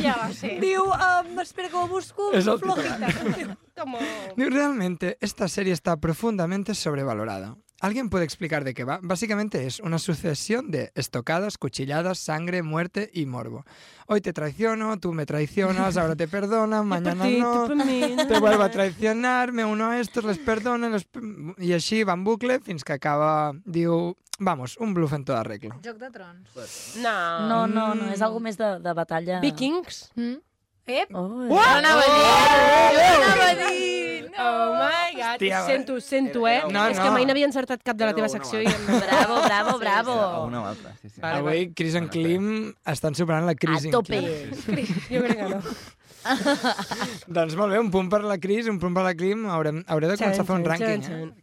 Speaker 7: Ja va ser. Diu, um, espera que ho busco,
Speaker 8: És el
Speaker 7: flojita.
Speaker 8: [LAUGHS]
Speaker 7: Com...
Speaker 8: Diu, realmente, esta serie está profundamente sobrevalorada. ¿Alguien puede explicar de qué va? Básicamente es una sucesión de estocadas, cuchilladas, sangre, muerte y morbo. Hoy te traiciono, tú me traicionas, ahora
Speaker 13: [LAUGHS]
Speaker 8: te perdonan, mañana
Speaker 13: ti,
Speaker 8: no,
Speaker 13: tú por mí, no.
Speaker 8: te vuelvo a traicionar, me uno a estos, les perdono, los... p- y así va en bucle fins que acaba, diu, vamos, un bluff en toda regla.
Speaker 7: Joc de trons.
Speaker 13: No.
Speaker 10: No, no, no, és algo més de, de batalla.
Speaker 13: Vikings?
Speaker 10: Mm?
Speaker 7: Ep!
Speaker 10: Oh,
Speaker 13: Ho anava a dir!
Speaker 7: Oh!
Speaker 13: Ho anava a dir! Oh my god,
Speaker 10: Hòstia,
Speaker 13: sento, sento, eh?
Speaker 8: No,
Speaker 13: És
Speaker 8: no.
Speaker 13: que mai n'havia encertat cap de la teva secció. I...
Speaker 10: Bravo, bravo, bravo.
Speaker 5: A una o altra, sí, sí.
Speaker 8: [LAUGHS] Avui Chris and Klim estan superant la Chris and
Speaker 10: tope.
Speaker 13: [LAUGHS]
Speaker 8: Klim.
Speaker 13: Jo crec que no.
Speaker 8: Doncs molt bé, un punt per la Cris, un punt per la Clim. Haurem, hauré de començar a fer un
Speaker 13: Xan, xan,
Speaker 8: rànquing,
Speaker 13: xan,
Speaker 8: eh?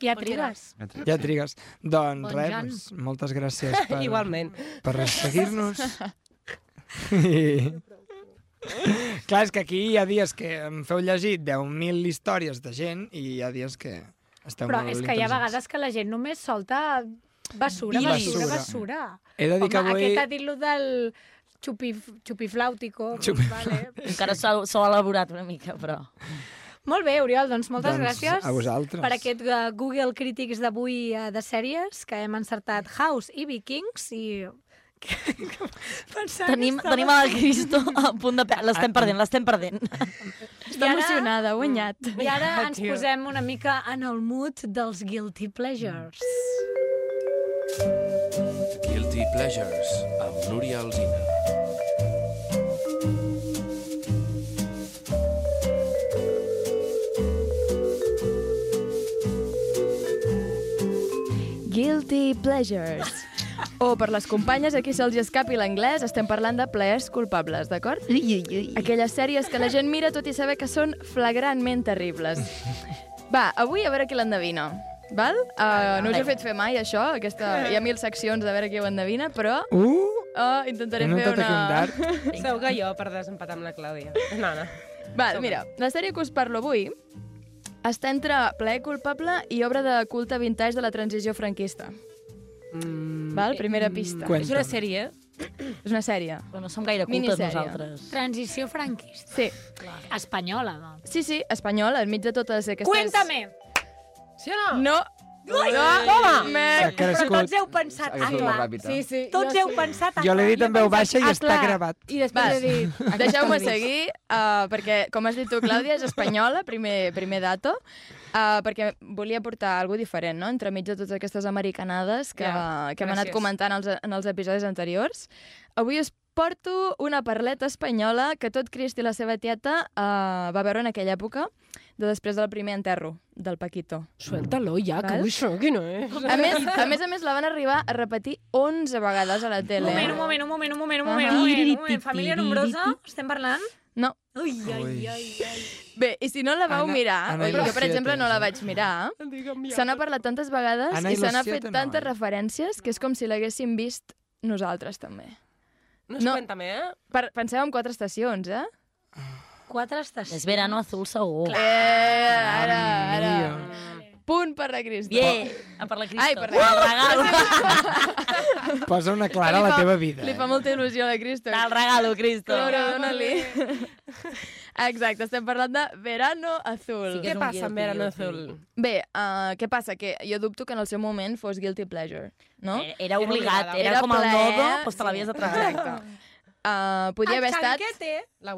Speaker 8: Que...
Speaker 7: Ja trigues.
Speaker 8: Ja trigues. Doncs
Speaker 7: Bon
Speaker 8: bon res,
Speaker 7: Jan.
Speaker 8: doncs, moltes
Speaker 7: [LAUGHS]
Speaker 8: gràcies per,
Speaker 13: Igualment.
Speaker 8: per seguir-nos. I... [LAUGHS] Clar, és que aquí hi ha dies que em feu llegir 10.000 històries de gent i hi ha dies que esteu
Speaker 7: Però
Speaker 8: molt
Speaker 7: és que hi ha
Speaker 8: interessants.
Speaker 7: vegades que la gent només solta basura,
Speaker 8: I
Speaker 7: basura,
Speaker 8: basura.
Speaker 7: basura.
Speaker 8: He de dir
Speaker 7: Home,
Speaker 8: que avui-
Speaker 7: aquest ha dit lo del xupif, xupiflàutico.
Speaker 8: Xupi-
Speaker 7: Vale.
Speaker 10: Encara s'ha s'ha elaborat una mica, però...
Speaker 7: Molt bé, Oriol, doncs moltes
Speaker 10: Doncs,
Speaker 7: gràcies
Speaker 10: a vosaltres.
Speaker 7: per aquest eh, Google Critics d'avui eh, de sèries, que hem encertat House i Vikings i... [LAUGHS] Pensant
Speaker 10: Tenim,
Speaker 7: estava-
Speaker 10: tenim a la Cristo a punt de... pe- L'estem perdent, l'estem perdent.
Speaker 7: Està
Speaker 11: emocionada, ha guanyat.
Speaker 7: I ara
Speaker 10: Ah,
Speaker 7: ens
Speaker 10: tio.
Speaker 7: posem una mica en el mood dels guilty pleasures.
Speaker 10: Mm.
Speaker 9: Guilty Pleasures, amb Núria Alzina.
Speaker 11: Guilty Pleasures. O per les companyes, aquí se'ls hi escapi l'anglès, estem parlant de plaers culpables, d'acord? Aquelles sèries que la gent mira tot i saber que són flagrantment terribles. Va, avui a veure qui l'endevina. Val? Uh, no us he fet fer mai, això. Aquesta... Hi ha mil seccions de veure qui ho endevina, però...
Speaker 8: Uh!
Speaker 11: Uh, intentaré
Speaker 13: He
Speaker 11: fer
Speaker 13: notat aquí un
Speaker 11: una...
Speaker 13: dard. Segur que jo per desempatar amb la Clàudia. No, no.
Speaker 11: Val, mira, la sèrie que us parlo avui
Speaker 8: Està entre plaer culpable i obra de culte vintage de la transició franquista. Mm. Val? Primera pista.
Speaker 1: Cuénta'm. És una sèrie?
Speaker 8: És una sèrie.
Speaker 10: Bueno, som gaire cultes nosaltres.
Speaker 8: Transició franquista. Sí.
Speaker 7: Espanyola, no?
Speaker 8: Sí, sí, espanyola, enmig de totes aquestes...
Speaker 7: Cuéntame!
Speaker 8: Sí o no? No.
Speaker 7: Ui,
Speaker 8: No.
Speaker 7: toma!
Speaker 8: Me-
Speaker 9: S'ha crescut.
Speaker 7: Però tots heu pensat,
Speaker 8: Ah,
Speaker 9: S'ha crescut
Speaker 7: clar.
Speaker 9: molt ràpid, eh?
Speaker 7: Sí, sí, tots heu pensat,
Speaker 9: Jo l'he dit en veu baixa i està gravat.
Speaker 8: Ah, I després
Speaker 9: he dit-
Speaker 8: Deixeu-me
Speaker 9: Aquesta
Speaker 8: seguir, uh, perquè, com has dit tu, Clàudia, és espanyola, primer, primer dato, uh, perquè volia portar alguna diferent, no?, entremig de totes aquestes americanades que,
Speaker 7: Ja,
Speaker 8: yeah, que hem anat
Speaker 7: gràcies.
Speaker 8: comentant els, en els episodis anteriors. Avui us porto una parleta espanyola que tot Crist i la seva tieta uh, va veure en aquella època, de després del primer enterro del Paquito.
Speaker 1: Suelta-lo ja, que
Speaker 8: Val?
Speaker 1: avui això aquí no és.
Speaker 8: A més, a més a més, la van arribar a repetir 11 vegades a la tele.
Speaker 7: Un moment, un moment, un moment, un moment, un moment,
Speaker 8: Ahà.
Speaker 7: un moment, un moment. Família nombrosa, estem parlant?
Speaker 8: No.
Speaker 7: Ui, ai, ai, ai.
Speaker 8: Bé, i si no la vau
Speaker 7: Ana-
Speaker 8: mirar,
Speaker 7: Ana
Speaker 8: oi,
Speaker 7: i
Speaker 8: jo
Speaker 7: los
Speaker 8: per exemple
Speaker 7: siete,
Speaker 8: no la vaig mirar, se n'ha parlat tantes vegades
Speaker 7: Ana i
Speaker 8: i se
Speaker 7: los
Speaker 8: n'ha
Speaker 7: siete,
Speaker 8: fet
Speaker 7: no,
Speaker 8: tantes referències que és com si l'haguéssim vist nosaltres també.
Speaker 1: No es cuéntame, eh?
Speaker 8: Per, penseu en quatre estacions, eh?
Speaker 7: Quatre estacions.
Speaker 10: És verano azul segur.
Speaker 8: Clar. Eh, ara, ara. Punt per la Cristo.
Speaker 10: Bien, a per la Cristo.
Speaker 8: Ai, per la Cristo.
Speaker 9: Posa una clara a la teva vida. eh?
Speaker 8: Li fa molta il·lusió a la Cristo.
Speaker 1: Ah,
Speaker 8: Te'l
Speaker 10: regalo, Cristo. Eh,
Speaker 8: Laura, dona-li. Exacte, estem parlant de Verano Azul.
Speaker 1: Sí que és Què un passa guilty, amb Verano guilty. Azul?
Speaker 8: Bé, uh, què passa? Que jo dubto que en el seu moment fos guilty pleasure, no?
Speaker 10: Era- era obligat, era com el nodo, doncs te l'havies de tragar.
Speaker 8: Exacte. Uh, podia haver estat...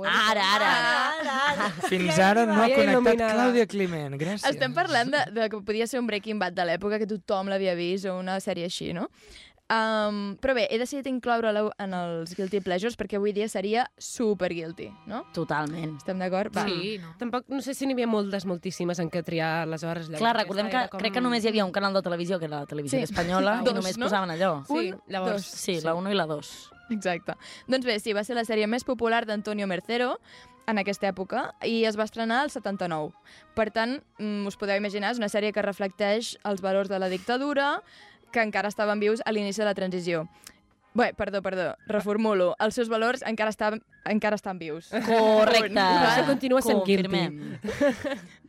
Speaker 1: Ah,
Speaker 10: Ara, ara.
Speaker 9: Fins ara no ha
Speaker 8: Ja
Speaker 9: connectat
Speaker 8: il·luminada.
Speaker 9: Clàudia Climent, gràcies.
Speaker 8: Estem parlant de, de que podia ser un Breaking Bad de l'època, que tothom l'havia vist, o una sèrie així, no? Um, però bé, he decidit incloure-la en els Guilty Pleasures perquè avui dia seria super guilty, no?
Speaker 10: Totalment.
Speaker 8: Estem d'acord? Va.
Speaker 1: no. Tampoc no sé si n'hi havia moltes, moltíssimes en què triar aleshores.
Speaker 10: Mm. Clar, recordem que crec que només hi havia un canal de televisió, que era la televisió
Speaker 8: Sí.
Speaker 10: espanyola,
Speaker 8: Dos,
Speaker 10: i només
Speaker 8: no?
Speaker 10: posaven allò.
Speaker 8: Sí, Un, llavors, dos.
Speaker 10: Sí, la 1 i la 2.
Speaker 8: Exacte. Doncs bé, sí, va ser la sèrie més popular d'Antonio Mercero en aquesta època i es va estrenar al 79. Per tant, mm, us podeu imaginar, és una sèrie que reflecteix els valors de la dictadura que encara estaven vius a l'inici de la transició. Bé, perdó, perdó, reformulo. Els seus valors encara estan, encara estan vius.
Speaker 10: Correcte.
Speaker 1: Això continua sent
Speaker 10: Confirmem.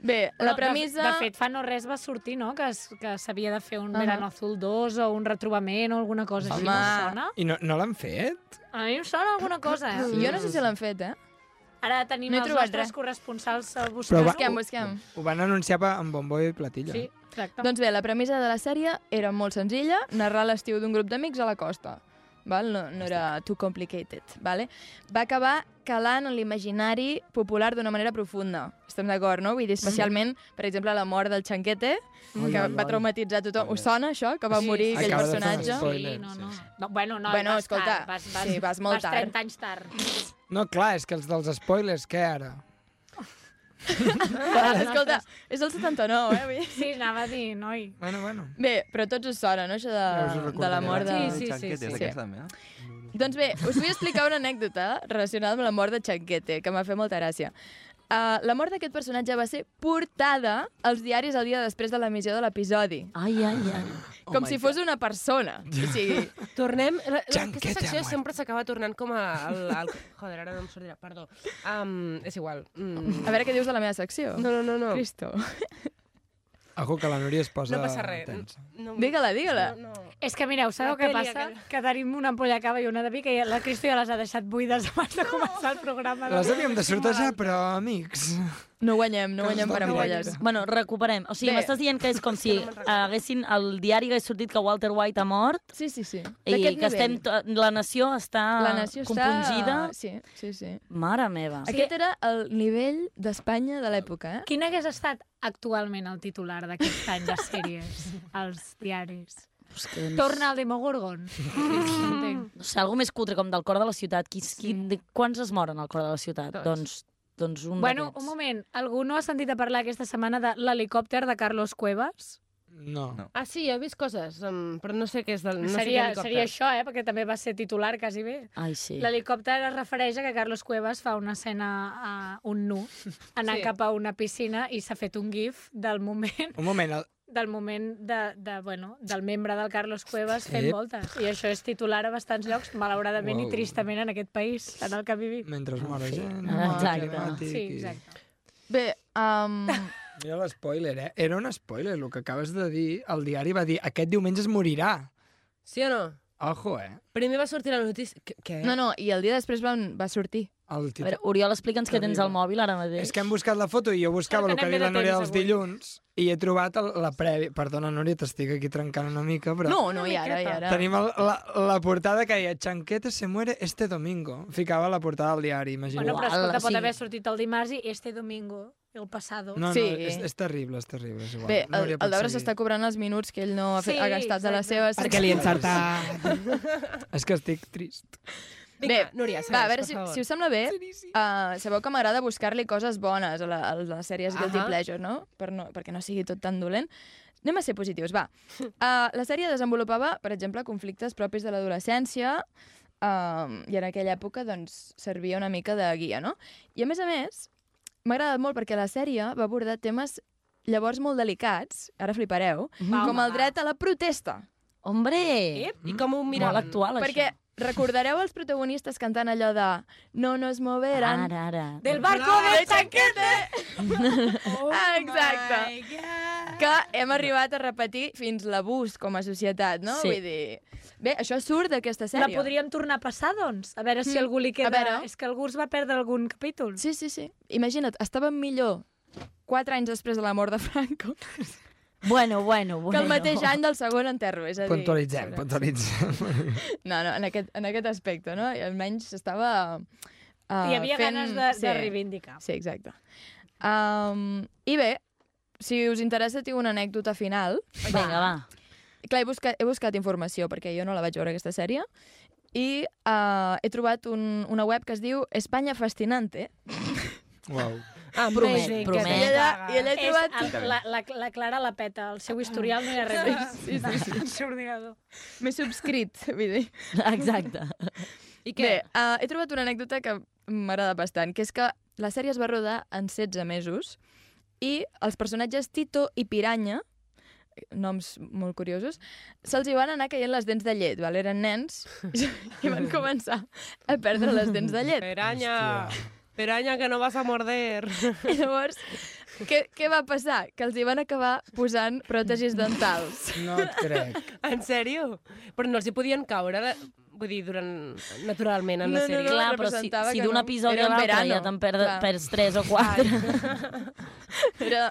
Speaker 8: Bé, la premissa...
Speaker 7: De, de fet, fa no res va sortir, no?, que, es- que s'havia de fer un
Speaker 8: Ahà.
Speaker 7: Verano Azul 2 o un retrobament o alguna cosa així. No em sona?
Speaker 9: I no, no l'han fet?
Speaker 7: A mi em sona alguna cosa, eh?
Speaker 8: Jo no sé si l'han fet, eh?
Speaker 7: Ara tenim
Speaker 8: No he
Speaker 7: els
Speaker 8: trobat
Speaker 7: nostres
Speaker 8: res.
Speaker 7: corresponsals eh, a buscar-ho.
Speaker 9: Ho van anunciar pa- amb bombo i platilla.
Speaker 7: Sí, exacte.
Speaker 8: Doncs bé, la premissa de la sèrie era molt senzilla, narrar l'estiu d'un grup d'amics a la costa. Val? No, no era too complicated. Vale? Va acabar calant en l'imaginari popular d'una manera profunda. Estem d'acord, no? Vull dir, especialment, per exemple, la mort del Chanquete,
Speaker 7: Mm. Ai,
Speaker 8: que
Speaker 7: ai,
Speaker 8: va
Speaker 7: ai.
Speaker 8: traumatitzar tothom. Us sona, això?
Speaker 7: [LAUGHS]
Speaker 8: Que va
Speaker 7: Sí,
Speaker 8: morir
Speaker 7: sí,
Speaker 8: aquell
Speaker 7: Acaba de fer un
Speaker 8: personatge?
Speaker 9: spoiler,
Speaker 7: Sí, no, no. no bueno, no,
Speaker 8: Bueno,
Speaker 7: vas
Speaker 8: escolta,
Speaker 7: tard, vas, vas,
Speaker 8: sí, vas molt
Speaker 7: vas
Speaker 8: tard.
Speaker 7: 30 anys tard.
Speaker 8: [LAUGHS]
Speaker 9: No, clar, és que els dels spoilers, què ara?
Speaker 8: Escolta, és el 79, eh? Vull dir.
Speaker 7: Sí, anava a dir, noi.
Speaker 9: Bueno, bueno.
Speaker 8: Bé, però tots us sona, no? Això
Speaker 9: Ja us ho
Speaker 8: de, de la
Speaker 9: recordaré.
Speaker 8: mort de...
Speaker 9: Sí, sí, sí, sí.
Speaker 8: sí. Doncs bé, us vull explicar una anècdota relacionada amb la mort de Chanquete, que m'ha fet molta gràcia. Uh, la mort d'aquest personatge va ser portada als diaris el dia després de l'emissió de l'episodi.
Speaker 10: Ai, ai, ai.
Speaker 1: Oh
Speaker 8: Com
Speaker 1: my
Speaker 8: si fos una persona. O sigui,
Speaker 1: [LAUGHS] Tornem... La, la, aquesta secció sempre s'acaba tornant com a... El, el, joder, ara no em sortirà, perdó. Um, és igual. Mm.
Speaker 8: a veure què dius de la meva secció.
Speaker 1: No, no, no. no.
Speaker 8: Cristo.
Speaker 9: Ojo, que la Núria es posa...
Speaker 1: No passa res.
Speaker 9: tensa.
Speaker 1: No,
Speaker 8: Digue-la, digue-la.
Speaker 7: És que mireu, sabeu
Speaker 1: La
Speaker 7: què
Speaker 1: peli
Speaker 7: passa?
Speaker 1: aquella.
Speaker 7: Que tenim una ampolla de cava i una de vi que ja- la Cristo ja les ha deixat buides abans de començar el programa.
Speaker 9: Les havíem de sortejar, però, amics...
Speaker 8: No guanyem, no
Speaker 9: Que
Speaker 8: guanyem
Speaker 9: ens
Speaker 8: per
Speaker 9: donin
Speaker 8: ampolles.
Speaker 10: Bueno, recuperem. O sigui,
Speaker 8: Bé.
Speaker 10: m'estàs dient que és com si haguessin el diari hagués sortit que Walter White ha mort
Speaker 8: Sí, sí, sí.
Speaker 10: i que
Speaker 8: D'aquest nivell.
Speaker 10: estem... to- La nació està
Speaker 8: La nació
Speaker 10: compungida.
Speaker 8: està... Sí, sí, sí.
Speaker 10: Mare meva.
Speaker 8: Aquest era el nivell d'Espanya de l'època, eh?
Speaker 7: Quin hagués estat actualment el titular d'aquest any de sèries als diaris?
Speaker 10: Aquest...
Speaker 7: Torna al Demogorgon. Entenc.
Speaker 10: No sé, algo més cutre, com del cor de la ciutat. Qui, qui, de, quants es moren al cor de la ciutat? Doncs, doncs un
Speaker 7: bueno,
Speaker 10: d'aquests.
Speaker 7: un moment. Algú no ha sentit a parlar aquesta setmana de l'helicòpter de Carlos Cuevas?
Speaker 9: No. no.
Speaker 1: Ah, sí, he vist coses, um, però no sé què és del... No
Speaker 7: seria,
Speaker 1: sé què
Speaker 7: seria això, eh? Perquè també va ser titular, quasi bé.
Speaker 10: Ai, sí.
Speaker 7: L'helicòpter es refereix a que Carlos Cuevas fa una escena a un nu, anant
Speaker 9: Sí.
Speaker 7: sí. cap a una piscina i s'ha fet un gif del moment
Speaker 9: Un moment, el...
Speaker 7: del moment de, de, bueno, del membre del Carlos Cuevas fent
Speaker 9: Ep.
Speaker 7: voltes. I això és titular a bastants llocs, malauradament
Speaker 9: Uau.
Speaker 7: i tristament en aquest país, en el que vivim.
Speaker 9: mentre es mor la gent...
Speaker 10: Ah,
Speaker 9: mor
Speaker 10: exacte.
Speaker 9: climàtic
Speaker 7: Sí,
Speaker 9: i-
Speaker 1: [LAUGHS]
Speaker 7: exacte.
Speaker 8: Bé, um,
Speaker 9: Mira l'espoiler, eh? Era un spoiler, el que acabes de dir. El diari va dir, aquest diumenge es morirà.
Speaker 5: Sí o no?
Speaker 9: Ojo, eh?
Speaker 5: Primer va sortir la notícia... Qu- Què?
Speaker 8: No, no, i el dia després van, va sortir.
Speaker 9: El
Speaker 10: A veure, Oriol, explica'ns què tens al mòbil ara mateix.
Speaker 9: És que hem buscat la foto i jo buscava
Speaker 10: Clar,
Speaker 9: el
Speaker 10: que
Speaker 9: que
Speaker 10: anem
Speaker 9: diu la
Speaker 10: bé de
Speaker 9: Núria
Speaker 10: temps
Speaker 9: dels
Speaker 10: avui.
Speaker 9: dilluns i he trobat el, la prèvia... Perdona, Núria, t'estic aquí trencant una mica, però...
Speaker 8: No, no, i ara, i ara.
Speaker 9: Tenim el, la, la portada que deia Chanquete se muere este domingo. Ficava la portada del diari, imagina't.
Speaker 7: Bueno, però escolta, pot haver sortit el dimarts i este domingo, el passado.
Speaker 9: No, no,
Speaker 8: Sí.
Speaker 9: és, és terrible, és terrible. És igual.
Speaker 8: Bé, el,
Speaker 9: Núria,
Speaker 8: el Daura
Speaker 9: pots
Speaker 8: s'està cobrant els minuts que ell no ha, fet,
Speaker 7: Sí,
Speaker 8: ha gastat de les
Speaker 7: exacte.
Speaker 8: seves...
Speaker 9: Perquè li he
Speaker 8: [LAUGHS]
Speaker 9: seguir. És que estic trist.
Speaker 8: Bé,
Speaker 5: Núria,
Speaker 8: va, a
Speaker 5: segueix,
Speaker 8: veure,
Speaker 5: per
Speaker 8: si,
Speaker 5: favor.
Speaker 8: si us sembla bé, uh, sabeu que m'agrada buscar-li coses bones a, la, a les sèries Guilty
Speaker 5: Ahà.
Speaker 8: Pleasure, no? Per no? Perquè no sigui tot tan dolent. Anem a ser positius, va. Uh, la sèrie desenvolupava, per exemple, conflictes propis de l'adolescència uh, i en aquella època doncs, servia una mica de guia, no? I a més a més, m'ha agradat molt perquè la sèrie va abordar temes llavors molt delicats, ara flipareu,
Speaker 7: Mhm.
Speaker 10: Va,
Speaker 8: com
Speaker 10: home,
Speaker 8: el dret a la protesta.
Speaker 10: Hombre!
Speaker 5: I com ho
Speaker 10: miraven? Molt actual, això.
Speaker 8: Perquè recordareu els protagonistes cantant allò de No nos moveran.
Speaker 10: Ara, ara.
Speaker 8: Del barco de Chanquete! [LAUGHS] Ah,
Speaker 10: Oh
Speaker 8: Exacte. Que hem arribat a repetir fins l'abús com a societat, no?
Speaker 7: Sí.
Speaker 8: Vull dir... Bé, això surt d'aquesta
Speaker 7: La
Speaker 8: sèrie.
Speaker 7: podríem tornar a passar, doncs? A veure si
Speaker 8: Mm,
Speaker 7: algú li
Speaker 8: a
Speaker 7: queda...
Speaker 8: veure.
Speaker 7: És que algú es va perdre algun capítol.
Speaker 8: Sí, sí, sí. Imagina't, estàvem millor quatre anys després de la mort de Franco
Speaker 10: Bueno, bueno, bueno.
Speaker 8: que el mateix any del segon enterro. És a dir,
Speaker 9: Puntualitzem, puntualitzem.
Speaker 8: No, no, en aquest, en aquest aspecte, no? I almenys s'estava... Uh,
Speaker 7: Hi havia
Speaker 8: fent...
Speaker 7: ganes de- de reivindicar.
Speaker 8: Sí, exacte. Um, I bé, si us interessa, tinc una anècdota final.
Speaker 10: Vinga, va.
Speaker 8: Clar, he buscat, he buscat informació, perquè jo no la vaig veure, aquesta sèrie, i uh, he trobat un, una web que es diu Espanya Fascinante.
Speaker 9: Uau.
Speaker 5: Ah,
Speaker 8: Promet,
Speaker 7: Amazing,
Speaker 8: promet.
Speaker 7: que es
Speaker 8: I ella-
Speaker 7: paga.
Speaker 8: i ella he
Speaker 7: És
Speaker 8: trobat-
Speaker 7: el- La, la, la Clara la peta, el seu historial no hi ha res més.
Speaker 8: Sí, sí,
Speaker 7: [LAUGHS]
Speaker 8: sí.
Speaker 7: El seu ordinador.
Speaker 8: M'he subscrit, [LAUGHS] vull dir.
Speaker 10: Exacte.
Speaker 8: I què? Bé, uh, he trobat una anècdota que m'agrada bastant, que és que la sèrie es va rodar en 16 mesos i els personatges Tito i Piranya, noms molt curiosos, se'ls hi van anar caient les dents de llet, val? eren
Speaker 5: [LAUGHS]
Speaker 8: nens i van començar a perdre les dents de llet.
Speaker 5: Peranya! Peranya, que no vas a morder.
Speaker 8: I llavors, què, què va passar? Que els hi van acabar posant pròtesis dentals.
Speaker 9: No et crec.
Speaker 5: En sèrio? Però no els hi podien caure, la- vull dir, durant... naturalment en la sèrie.
Speaker 10: Clar, però si, si d'un episodi
Speaker 8: Era
Speaker 10: a
Speaker 8: un
Speaker 10: l'altre
Speaker 8: verano.
Speaker 10: ja te'n perds,
Speaker 8: Clar.
Speaker 10: perds tres o quatre.
Speaker 8: Era,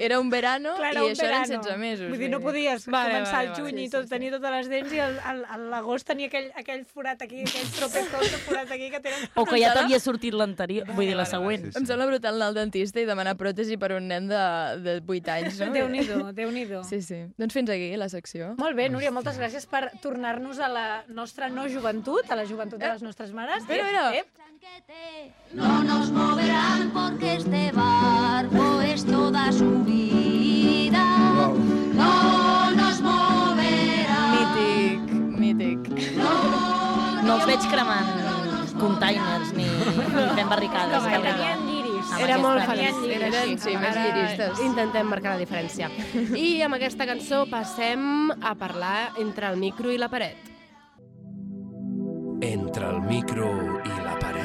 Speaker 8: era un verano
Speaker 7: Clar, era
Speaker 8: i
Speaker 7: un
Speaker 8: això
Speaker 7: verano.
Speaker 8: eren 16 mesos.
Speaker 7: Vull dir, no podies vale, començar vale, el juny vale, i tot, tenir totes les dents i el- el- el- l'agost tenia aquell, aquell forat aquí, aquell tropecón de forat aquí que tenen...
Speaker 10: [LAUGHS] O que ja t'havia sortit l'anterior, vull dir, la següent.
Speaker 8: Em sembla brutal anar al dentista i demanar pròtesi per un nen de, de 8 anys, no? eh.
Speaker 7: Déu-n'hi-do, Déu-n'hi-do.
Speaker 8: [LAUGHS] Sí, sí. Doncs fins aquí, la secció.
Speaker 7: Molt bé, Núria, moltes gràcies per tornar-nos a la nostra no joventut, a la joventut
Speaker 8: Eh.
Speaker 7: de les nostres mares. Eh,
Speaker 8: Espera, espera.
Speaker 14: No nos moverán porque este barco es toda su vida. No nos moverán.
Speaker 8: Mític, mític.
Speaker 10: No els veig cremant containers ni, ni fent barricades.
Speaker 5: No,
Speaker 10: que
Speaker 5: era-
Speaker 10: raro. Amb
Speaker 5: Era molt
Speaker 10: aquesta-
Speaker 5: feliç.
Speaker 8: Eren, sí, més
Speaker 5: Ara
Speaker 8: lliristes.
Speaker 5: Intentem marcar la diferència. I amb aquesta cançó passem a parlar entre el micro i la paret.
Speaker 15: Entre el micro i la paret.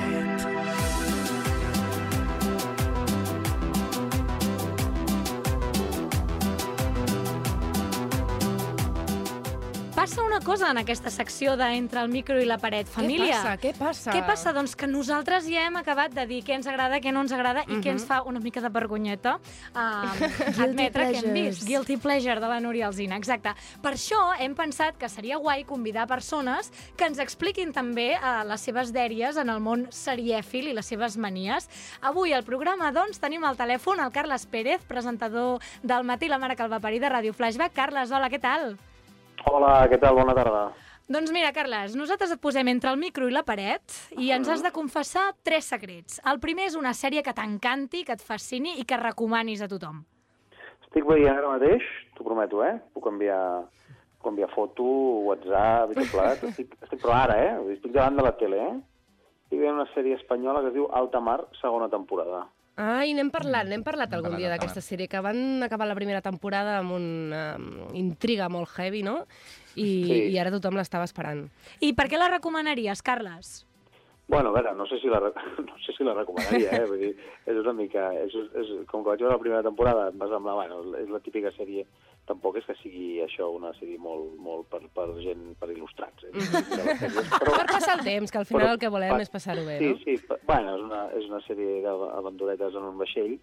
Speaker 7: Passa una cosa en aquesta secció de entre el micro i la paret, família.
Speaker 5: passa? Què passa?
Speaker 7: Què passa? Doncs que nosaltres ja hem acabat de dir què ens agrada, què no ens agrada i què ens fa una mica de vergonyeta um, admetre que hem
Speaker 8: pleasures.
Speaker 7: vist. Guilty pleasure de la Núria Alzina, exacte. Per això hem pensat que seria guai convidar persones que ens expliquin també uh, les seves dèries en el món serièfil i les seves manies. Avui al programa, doncs, tenim al telèfon el Carles Pérez, presentador del Matí la mare que el va parir de Ràdio Flashback. Carles, hola, què tal?
Speaker 16: Hola, què tal? Bona tarda.
Speaker 7: Doncs mira, Carles, nosaltres et posem entre el micro i la paret i ens has de confessar tres secrets. El primer és una sèrie que t'encanti, que et fascini i que recomanis a tothom.
Speaker 16: Estic veient ara mateix, t'ho prometo, eh? Puc enviar, puc enviar foto, WhatsApp i tot plegat. Ah, Estic, estic però ara, eh? Vull dir, Estic davant de la tele, eh? Estic veient una sèrie espanyola que es diu Alta Mar, segona temporada.
Speaker 5: Ai, n'hem parlat, n'hem parlat algun dia d'aquesta sèrie, que van acabar la primera temporada amb una mm, intriga molt heavy, no? I,
Speaker 16: Sí.
Speaker 5: i ara tothom l'estava esperant.
Speaker 7: I per què la recomanaries, Carles?
Speaker 9: Bueno, a veure, no sé si la, re- no sé si la recomanaria, eh? Vull dir, és una mica... És, és, com que vaig veure la primera temporada, em va semblar, bueno, és la típica sèrie... Tampoc és que sigui això una sèrie molt, molt per, per gent, per il·lustrats. Eh?
Speaker 8: Mhm. Per passar el temps, que al final el que volem és passar-ho bé,
Speaker 9: sí,
Speaker 8: no?
Speaker 9: Sí, sí. Bueno, és una, és una sèrie d'aventuretes en un vaixell,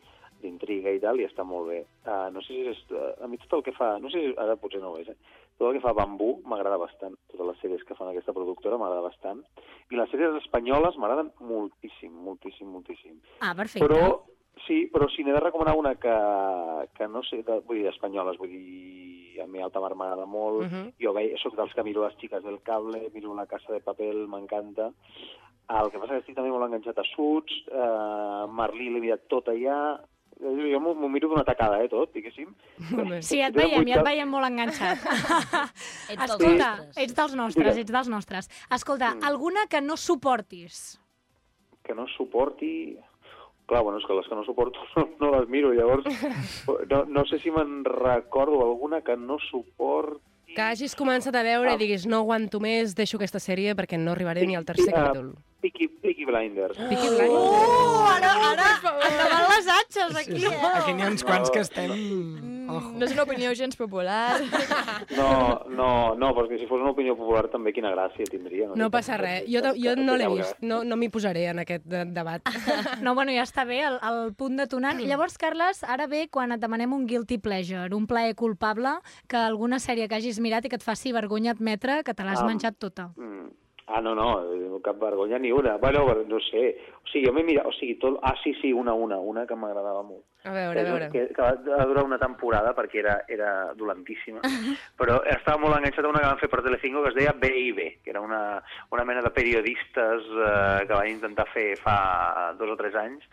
Speaker 9: d'intriga i tal, i està molt bé. Uh, no sé si és... Uh, a mi tot el que fa... No sé si... Ara potser no ho és, eh? Tot el que fa Bambú m'agrada bastant. Totes les sèries que fan aquesta productora m'agrada bastant. I les sèries espanyoles m'agraden moltíssim, moltíssim, moltíssim.
Speaker 17: Ah, perfecte.
Speaker 9: Però, sí, però si n'he de recomanar una que, que no sé, de, vull dir, espanyoles, vull dir, a mi Alta Mar m'agrada molt,
Speaker 18: Mhm.
Speaker 9: jo veig, soc dels que miro les xiques del cable, eh, miro la casa de papel, m'encanta. El que passa que estic també molt enganxat a Suits, eh, Marlí l'he mirat tot allà, jo m'ho m'ho miro d'una tacada, eh, tot, diguéssim.
Speaker 7: Sí, et
Speaker 9: Jo
Speaker 7: veiem,
Speaker 9: vull
Speaker 7: ja et
Speaker 9: que-
Speaker 7: veiem molt
Speaker 9: [LAUGHS]
Speaker 7: enganxat.
Speaker 10: dels
Speaker 7: Escolta,
Speaker 9: nostres.
Speaker 7: ets dels nostres, ets dels nostres. Escolta, alguna que no suportis.
Speaker 9: que no suporti... Clar, bueno, és que les que no suporto [LAUGHS] no, no les miro, llavors no, no sé si me'n recordo alguna que no Ah. suport...
Speaker 8: Que hagis començat a veure i diguis no aguanto més, deixo aquesta sèrie perquè no arribaré ni al tercer capítol.
Speaker 9: Peaky, Peaky Blinders.
Speaker 8: Peaky
Speaker 7: Oh, ara, ara,
Speaker 9: Ah.
Speaker 7: endavant les atxes, aquí,
Speaker 19: sí.
Speaker 7: eh?
Speaker 19: Aquí n'hi ha uns quants que estem...
Speaker 20: No és una opinió gens popular.
Speaker 9: No, no, no, perquè si fos una opinió popular també quina gràcia tindria.
Speaker 8: No passa res, jo, ta- jo no l'he vist, no, no m'hi posaré en aquest de-
Speaker 10: [LAUGHS]
Speaker 8: debat.
Speaker 7: [LAUGHS] No, bueno, ja està bé el, el punt
Speaker 9: [CLEARS THROAT]
Speaker 7: detonant. Llavors, Carles, ara ve quan et demanem un guilty pleasure, un plaer culpable, que alguna sèrie que hagis mirat i que et faci vergonya admetre que te l'has
Speaker 9: Ah.
Speaker 7: menjat tota.
Speaker 9: Mm. Ah, no, no, eh, cap vergonya ni una. Bueno, no sé, o sigui, jo m'he mirat, o sigui, tot... Ah, sí, sí, una, una, una que m'agradava molt. Eh,
Speaker 8: A veure, a veure.
Speaker 9: Que, que va va durar una temporada perquè era, era dolentíssima, però estava molt enganxat a una que van fer per Telecinco que es deia B.I.B., que era una, una mena de periodistes eh, que van intentar fer fa dos o tres anys.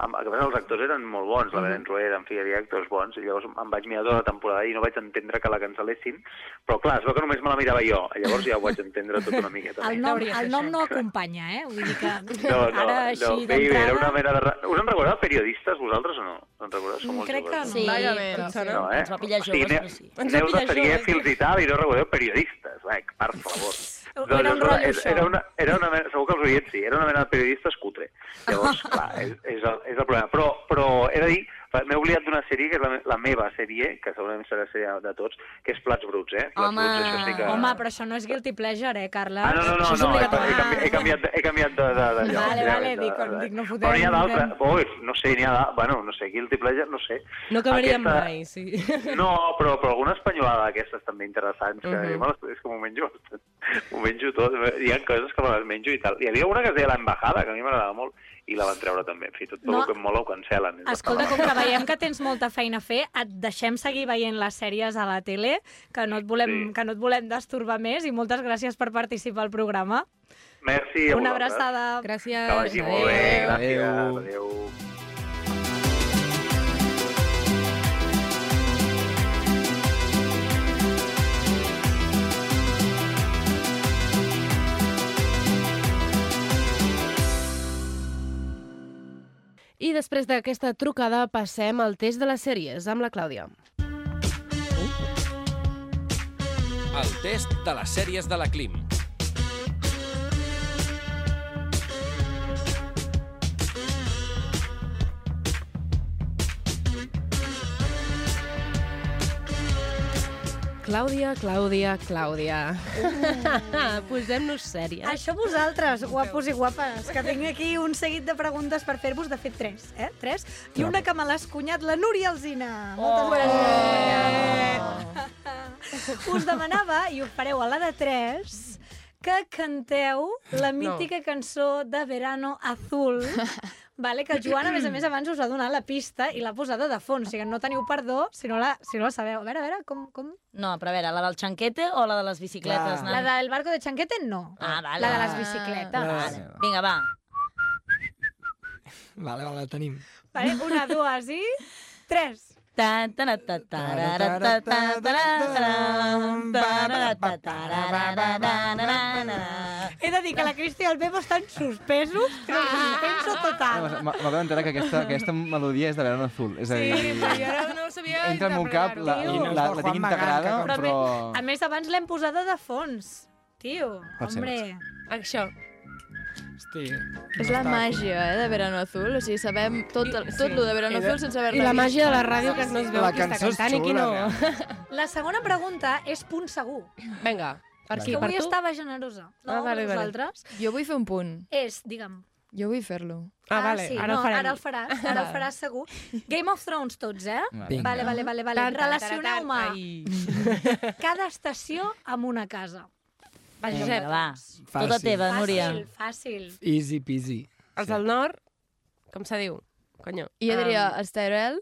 Speaker 9: Amb, a més, els actors eren molt bons, la Belén Rueda, en fi, hi havia actors bons, i llavors em vaig mirar tota la temporada i no vaig entendre que la cancel·lessin, però clar, es veu que només me la mirava jo, llavors ja ho vaig entendre tot una miqueta.
Speaker 7: El nom, el nom no acompanya, eh? Vull dir que
Speaker 9: [LAUGHS] No, no,
Speaker 7: ara
Speaker 9: no,
Speaker 7: així
Speaker 9: bé, bé, era una
Speaker 7: d'entrada...
Speaker 9: mena de... ra- Us en recordeu de periodistes, vosaltres, o no? No en recordeu? Som molt
Speaker 7: Crec que
Speaker 9: joves.
Speaker 7: no. Sí,
Speaker 10: Vagament,
Speaker 7: em sona.
Speaker 9: No, eh?
Speaker 10: Ens va pillar
Speaker 9: O sigui,
Speaker 10: joves,
Speaker 9: aneu-
Speaker 10: però sí.
Speaker 9: Aneu de serièfils i tal, i no recordeu periodistes, va, per favor. Doncs
Speaker 10: [LAUGHS] Era un
Speaker 9: és una-
Speaker 10: rotllo
Speaker 9: és-
Speaker 10: això.
Speaker 9: era una, era una mena, segur que els oients sí, era una mena de periodistes cutre. Llavors, clar, és, és, el, és el problema. Però, però he de dir, m'he oblidat d'una sèrie que és la, me- la meva sèrie, que segurament serà la sèrie de tots, que és Plats Bruts, eh? Plats
Speaker 7: Home,
Speaker 9: Bruts, això sí que...
Speaker 7: home, però això no és guilty pleasure, eh, Carles?
Speaker 9: Ah, no, no, no,
Speaker 7: Això és
Speaker 9: no he,
Speaker 7: obligatori. Ah,
Speaker 9: he, canvi, he, canviat, de- he canviat de... de, de lloc,
Speaker 7: Vale,
Speaker 9: ja,
Speaker 7: vale,
Speaker 9: de-
Speaker 7: dic,
Speaker 9: de-
Speaker 7: dic, no fotem-
Speaker 9: Però n'hi ha d'altres,
Speaker 7: fotem-
Speaker 9: Ui, no sé, n'hi ha d'altres, bueno, no sé, Guilty Pleasure, no sé.
Speaker 8: No acabaríem
Speaker 9: Aquesta-
Speaker 8: mai, sí.
Speaker 9: [LAUGHS] No, però, però alguna espanyolada d'aquestes també interessants, que uh
Speaker 8: Mhm.
Speaker 9: -huh. és que m'ho menjo bastant. M'ho menjo tot, hi ha coses que me les menjo i tal. Hi havia una que es deia l'embajada, que a mi m'agradava molt, i la van treure també. En fi, tot
Speaker 7: No.
Speaker 9: el que em mola ho cancel·len. és
Speaker 7: Escolta,
Speaker 9: bastant
Speaker 7: com que veiem que tens molta feina a fer, et deixem seguir veient les sèries a la tele, que no et volem, sí. que no et volem destorbar més, i moltes gràcies per participar al programa.
Speaker 9: malament. Merci a
Speaker 7: Una
Speaker 9: vosaltres.
Speaker 7: abraçada.
Speaker 8: Gràcies.
Speaker 9: Que vagi molt bé, gràcies. Adéu.
Speaker 8: I després d'aquesta trucada passem al test de les sèries amb la Clàudia.
Speaker 21: El test de les sèries de la Clim.
Speaker 8: Clàudia, Clàudia, Clàudia. Uh. [LAUGHS] Posem-nos sèries.
Speaker 7: Això vosaltres, guapos i guapes, que tinc aquí un seguit de preguntes per fer-vos, de fet, tres, eh? Tres. I una que me l'ha escunyat la Núria Alzina. Moltes oh. gràcies. Us demanava, i ho fareu a la de tres, que canteu la mítica no. cançó de Verano Azul, vale, que el Joan, a més a més, abans us ha donat la pista i l'ha posada de fons, o sigui que no teniu perdó si no la, si no la sabeu. A veure, a veure, com... com...
Speaker 10: No, però a veure, la del xanquete o la de les bicicletes?
Speaker 7: La del barco de Chanquete, no.
Speaker 10: Ah, vale.
Speaker 7: La de les bicicletes.
Speaker 10: Vale. Vinga, va.
Speaker 19: Vale, vale, la tenim.
Speaker 7: Vale, una, dues i tres. He de dir que la Cristi i el Pepo estan suspesos, però suspenso total.
Speaker 5: M'ha- M'acabo d'enterar que aquesta, que aquesta melodia és de Verano Azul. És a dir,
Speaker 8: no ho sabia
Speaker 5: entra en un cap, la, la,
Speaker 7: Tio.
Speaker 5: la, la tinc integrada, però...
Speaker 7: A més, abans l'hem posada de fons. Tio,
Speaker 5: Pot ser,
Speaker 7: hombre.
Speaker 8: Això.
Speaker 9: Hosti,
Speaker 11: És la màgia, eh, de Verano Azul. O sigui, sabem tot, el, tot lo de Verano Azul sense haver-la
Speaker 8: I la
Speaker 11: vist.
Speaker 8: màgia de la ràdio que no es veu
Speaker 9: La
Speaker 8: qui està
Speaker 9: cançó és
Speaker 8: cantant i qui
Speaker 9: xula,
Speaker 8: no. eh.
Speaker 7: La segona pregunta és punt segur.
Speaker 8: [LAUGHS] Vinga, per
Speaker 7: És
Speaker 8: qui?
Speaker 7: que
Speaker 8: Per
Speaker 7: avui
Speaker 8: tu?
Speaker 7: estava generosa. No, ah,
Speaker 8: Ah, vale,
Speaker 7: vale,
Speaker 8: vale.
Speaker 7: vosaltres.
Speaker 11: Jo vull fer un punt.
Speaker 7: És, digue'm.
Speaker 11: Jo vull fer-lo.
Speaker 8: Ah, vale,
Speaker 7: sí,
Speaker 8: ara
Speaker 7: no,
Speaker 8: el farem.
Speaker 7: Ara el faràs, ara el faràs segur. Game of Thrones tots, eh?
Speaker 8: Vinga.
Speaker 7: Vale, vale, vale. vale.
Speaker 8: Tan, tan,
Speaker 7: Relacioneu-me
Speaker 8: tan,
Speaker 7: cada estació amb una casa.
Speaker 10: Va,
Speaker 9: Vinga,
Speaker 10: Josep. Va,
Speaker 9: Fàcil.
Speaker 10: tota teva, Núria.
Speaker 7: Fàcil, fàcil.
Speaker 9: Easy peasy.
Speaker 8: Els del nord, com se diu? Conyo.
Speaker 11: I jo diria
Speaker 8: Ah.
Speaker 11: els Tyrell.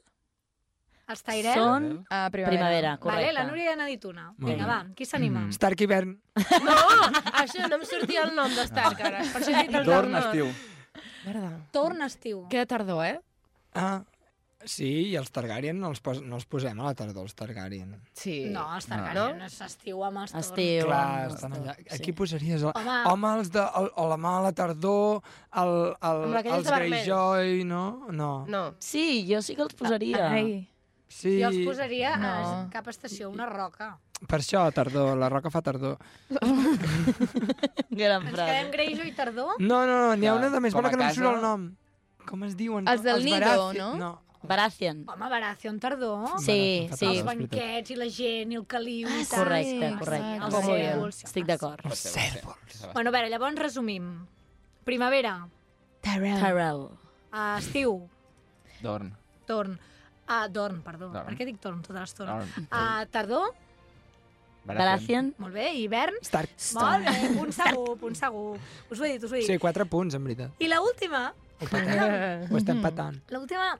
Speaker 7: Els Tyrell?
Speaker 10: Són
Speaker 11: a primavera.
Speaker 10: Ah, primavera,
Speaker 7: Vale,
Speaker 10: correcte.
Speaker 7: la Núria ja n'ha dit una.
Speaker 9: Molt bé.
Speaker 7: Vinga,
Speaker 9: Mm.
Speaker 7: va, qui s'anima?
Speaker 9: Stark Hivern.
Speaker 8: [LAUGHS] No, això no em sortia el nom d'Stark, ara. Per això he dit el del
Speaker 9: Dorn,
Speaker 8: nord.
Speaker 9: estiu.
Speaker 8: Merda.
Speaker 10: Mm.
Speaker 7: Torn estiu.
Speaker 8: Queda tardor, eh?
Speaker 9: Ah, sí, i els Targaryen no els, pos no els posem a la tardor, els Targaryen.
Speaker 8: Sí.
Speaker 7: No, els Targaryen no? és estiu amb els torns.
Speaker 9: Clar, estan allà. Aquí posaries... El...
Speaker 7: Home.
Speaker 9: Home. Home, els de... El, o la mà a la tardor, el, el,
Speaker 8: Amb aquells
Speaker 9: els
Speaker 8: de vermells.
Speaker 9: Greyjoy, no? No.
Speaker 8: No.
Speaker 10: Sí, jo sí que els posaria.
Speaker 11: Ai.
Speaker 9: Sí,
Speaker 7: Jo els posaria no. a
Speaker 11: No.
Speaker 7: cap estació, una roca.
Speaker 9: per això, tardor, la roca fa tardor.
Speaker 10: Gran
Speaker 7: Ens quedem greixo i tardor?
Speaker 9: No, no, no, n'hi ha una de més
Speaker 5: Com
Speaker 9: bona
Speaker 5: a
Speaker 9: que no em surt
Speaker 5: casa.
Speaker 9: el nom. Com es diuen?
Speaker 11: Els del Nido,
Speaker 9: Baratheon-
Speaker 11: no?
Speaker 9: No,
Speaker 10: Baratheon.
Speaker 7: Home, Baratheon tardor.
Speaker 10: Sí, sí.
Speaker 7: Els banquets i la gent i el caliu i tal.
Speaker 10: Correcte, correcte.
Speaker 7: Els
Speaker 10: Molt bé.
Speaker 7: cèrvols.
Speaker 10: Estic d'acord.
Speaker 9: Els cèrvols.
Speaker 7: Bueno, a veure, llavors resumim. Primavera,
Speaker 11: Tyrell.
Speaker 10: Tyrell.
Speaker 7: a estiu,
Speaker 5: Dorn.
Speaker 7: torn. A dorn, perdó.
Speaker 5: Dorn.
Speaker 7: Per què dic torn tota l'estona?
Speaker 5: Dorn.
Speaker 7: A tardor,
Speaker 10: Baratheon.
Speaker 7: molt bé, hivern.
Speaker 9: Stark.
Speaker 7: Molt bé, punt segur, punt segur. Us ho he dit, us ho he dit.
Speaker 9: Sí, quatre punts, en veritat.
Speaker 7: I la última,
Speaker 9: Ho, patem. ho estem patant.
Speaker 7: la última